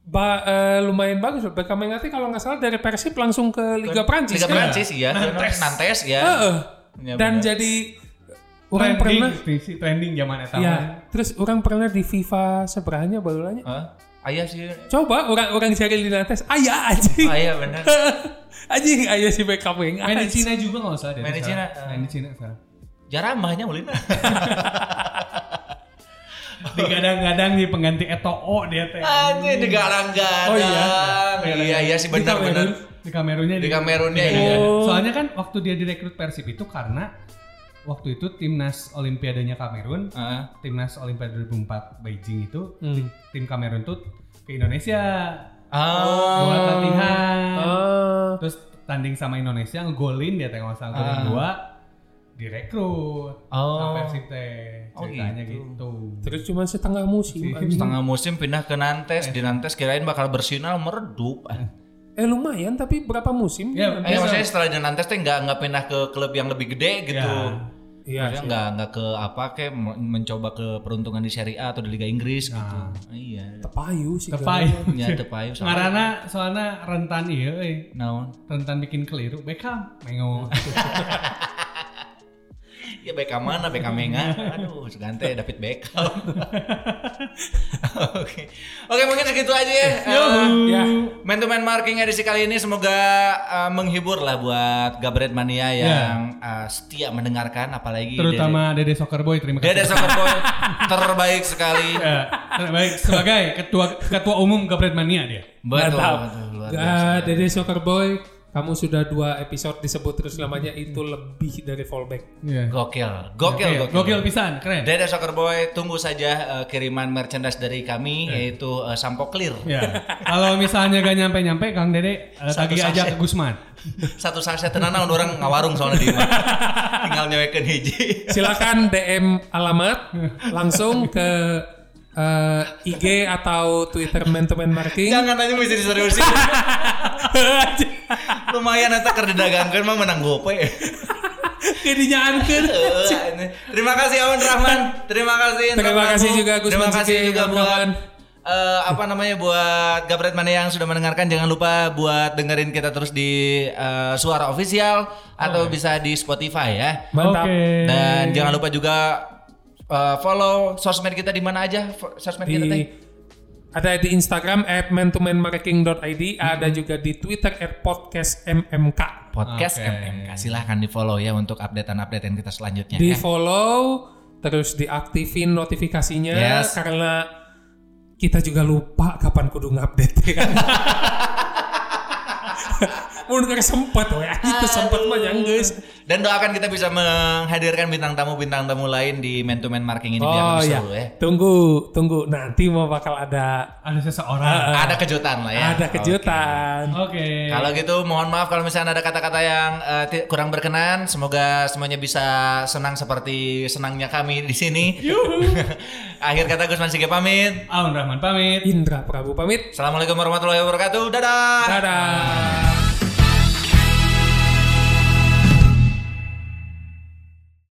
[SPEAKER 2] ba- eh, lumayan bagus. loh. BKM teh kalau nggak salah dari Persib langsung ke Liga
[SPEAKER 1] Liga
[SPEAKER 2] Prancis. kan?
[SPEAKER 1] Prancis ya, Nantes, ya.
[SPEAKER 2] Heeh.
[SPEAKER 1] Ya,
[SPEAKER 2] Dan
[SPEAKER 1] benar.
[SPEAKER 2] jadi orang
[SPEAKER 3] Trending,
[SPEAKER 2] pernah
[SPEAKER 3] si trending zaman eta.
[SPEAKER 2] ya,
[SPEAKER 3] mah.
[SPEAKER 2] terus orang pernah di FIFA seberangnya balulanya.
[SPEAKER 1] Hah? Ayah sih.
[SPEAKER 2] Coba orang-orang cari di Nantes, ayah anjing.
[SPEAKER 1] Ayah benar.
[SPEAKER 2] anjing ayah si BKM yang
[SPEAKER 3] Main di Cina juga nggak usah deh.
[SPEAKER 1] Main di
[SPEAKER 3] sekarang.
[SPEAKER 1] Cina, eh.
[SPEAKER 3] Main di Cina sekarang.
[SPEAKER 1] Jaramahnya ulin.
[SPEAKER 3] Digadang-gadang di pengganti Eto'o dia teh.
[SPEAKER 1] Anjir digarang-garang.
[SPEAKER 3] Oh, iya.
[SPEAKER 1] Iya iya sih
[SPEAKER 2] Di Kamerun.
[SPEAKER 1] benar-benar.
[SPEAKER 3] Di Kamerunnya
[SPEAKER 1] Di Kamerunnya iya.
[SPEAKER 2] Oh.
[SPEAKER 3] Soalnya kan waktu dia direkrut Persib itu karena waktu itu timnas Olimpiadenya Kamerun, eh,
[SPEAKER 1] Heeh.
[SPEAKER 3] timnas Olimpiade 2004 Beijing itu
[SPEAKER 2] Hmm.
[SPEAKER 3] tim Kamerun tuh ke Indonesia
[SPEAKER 1] Ah.
[SPEAKER 3] buat latihan,
[SPEAKER 1] Oh.
[SPEAKER 2] Ah.
[SPEAKER 3] terus tanding sama Indonesia ngegolin dia tengok sang
[SPEAKER 1] Ah.
[SPEAKER 3] golin dua direkrut
[SPEAKER 1] Oh.
[SPEAKER 3] sama Persib teh
[SPEAKER 1] Oh,
[SPEAKER 3] ceritanya
[SPEAKER 1] gitu.
[SPEAKER 3] gitu.
[SPEAKER 2] Terus cuma setengah musim.
[SPEAKER 3] Si-
[SPEAKER 2] anjing.
[SPEAKER 1] Setengah musim pindah ke Nantes, di Nantes kirain bakal bersinar meredup.
[SPEAKER 2] Eh lumayan tapi berapa musim?
[SPEAKER 3] Ya,
[SPEAKER 1] Eh maksudnya setelah di Nantes teh nggak nggak pindah ke klub yang lebih gede gitu.
[SPEAKER 3] Ya.
[SPEAKER 2] Iya,
[SPEAKER 1] Maksudnya nggak nggak ke apa kayak men- mencoba ke peruntungan di Serie A atau di Liga Inggris gitu. Iya.
[SPEAKER 2] tepayu sih.
[SPEAKER 3] Tepai.
[SPEAKER 1] Ya tepayu sama
[SPEAKER 3] Ngarana soalnya rentan iya, euy.
[SPEAKER 1] naon.
[SPEAKER 3] rentan bikin keliru Beckham mengo
[SPEAKER 1] Ya Beckham mana Beckham Menga. Aduh, segante David Beckham. Oke. Oke, mungkin segitu aja ya. Eh,
[SPEAKER 2] Ya.
[SPEAKER 1] Man to Man Marking edisi kali ini semoga eh, menghibur lah buat Gabret Mania yang eh, setia mendengarkan apalagi
[SPEAKER 3] terutama Dede Soccer Boy terima kasih
[SPEAKER 1] iya. Dede Soccer Boy terbaik sekali.
[SPEAKER 3] Ya, terbaik sebagai ketua ketua umum Gabret Mania dia.
[SPEAKER 1] Betul,
[SPEAKER 2] Mantap.
[SPEAKER 1] betul, luar biasa.
[SPEAKER 2] Nah, Dede Soccer Boy, kamu sudah dua episode disebut terus namanya itu lebih dari fallback.
[SPEAKER 3] Iya.
[SPEAKER 1] Gokil, gokil,
[SPEAKER 3] Iya,
[SPEAKER 1] gokil.
[SPEAKER 3] Gokil pisan, keren.
[SPEAKER 1] Dada Soccer Boy, tunggu saja uh, kiriman merchandise dari kami yaitu uh, sampo clear.
[SPEAKER 3] Ya. Kalau misalnya gak nyampe-nyampe Kang Dede eh,
[SPEAKER 1] Satu
[SPEAKER 3] tagih aja
[SPEAKER 1] sachet.
[SPEAKER 3] ke Gusman.
[SPEAKER 1] Satu sachet tenanan orang ngawarung soalnya di imah. Tinggal nyewekeun hiji.
[SPEAKER 2] Silakan DM alamat langsung ke eh, IG atau Twitter Man to Man Marking.
[SPEAKER 1] Jangan aja mesti diseriusin. Lumayan eta keur didagangkeun mah menang ya? gope.
[SPEAKER 2] Jadinya anker.
[SPEAKER 1] Eh, Terima kasih Awan Rahman. Terima kasih. Intan
[SPEAKER 2] Terima kasih
[SPEAKER 1] Lagu.
[SPEAKER 2] juga, Gusman
[SPEAKER 1] Terima kasih
[SPEAKER 2] Ciki,
[SPEAKER 1] juga buat
[SPEAKER 2] kawan-kawan.
[SPEAKER 1] eh, apa namanya buat Gabret Mania yang sudah mendengarkan jangan lupa buat dengerin kita terus di eh, Suara Official atau
[SPEAKER 2] Oh.
[SPEAKER 1] bisa di Spotify ya.
[SPEAKER 2] Mantap.
[SPEAKER 3] Oke.
[SPEAKER 1] Dan jangan eh, lupa juga uh, follow sosmed kita di mana aja fo- sosmed kita teh.
[SPEAKER 2] Di Ada di Instagram at man2manmarketing.id, ada juga di Twitter at podcast MMK.
[SPEAKER 1] Podcast
[SPEAKER 3] Oke.
[SPEAKER 1] MMK silahkan di follow ya untuk updatean-updatean kita selanjutnya.
[SPEAKER 2] Di
[SPEAKER 1] ya.
[SPEAKER 2] follow, terus diaktifin notifikasinya
[SPEAKER 1] Yes.
[SPEAKER 2] karena kita juga lupa kapan kudu ngupdate kan. Mun gak sempet we, itu sempet mah ya, yang geus.
[SPEAKER 1] Dan doakan kita bisa menghadirkan bintang tamu-bintang tamu lain di Man to Man Marking ini biar
[SPEAKER 2] Oh
[SPEAKER 1] lebih
[SPEAKER 2] ya,
[SPEAKER 1] seru ya.
[SPEAKER 2] tunggu, tunggu nanti mau bakal ada
[SPEAKER 3] Ada seseorang.
[SPEAKER 1] Ada kejutan lah ya.
[SPEAKER 2] Eh, ada kejutan.
[SPEAKER 3] Oke.
[SPEAKER 1] Oke. ah. Kalau gitu mohon maaf kalau misalnya ada kata-kata yang eh, ti- kurang berkenan. Semoga semuanya bisa senang seperti senangnya kami di sini. Akhir kata Gusman Sige pamit.
[SPEAKER 3] Aun Rahman pamit.
[SPEAKER 2] Indra Prabu pamit.
[SPEAKER 1] Assalamualaikum warahmatullahi wabarakatuh. Dadah.
[SPEAKER 2] Dadah.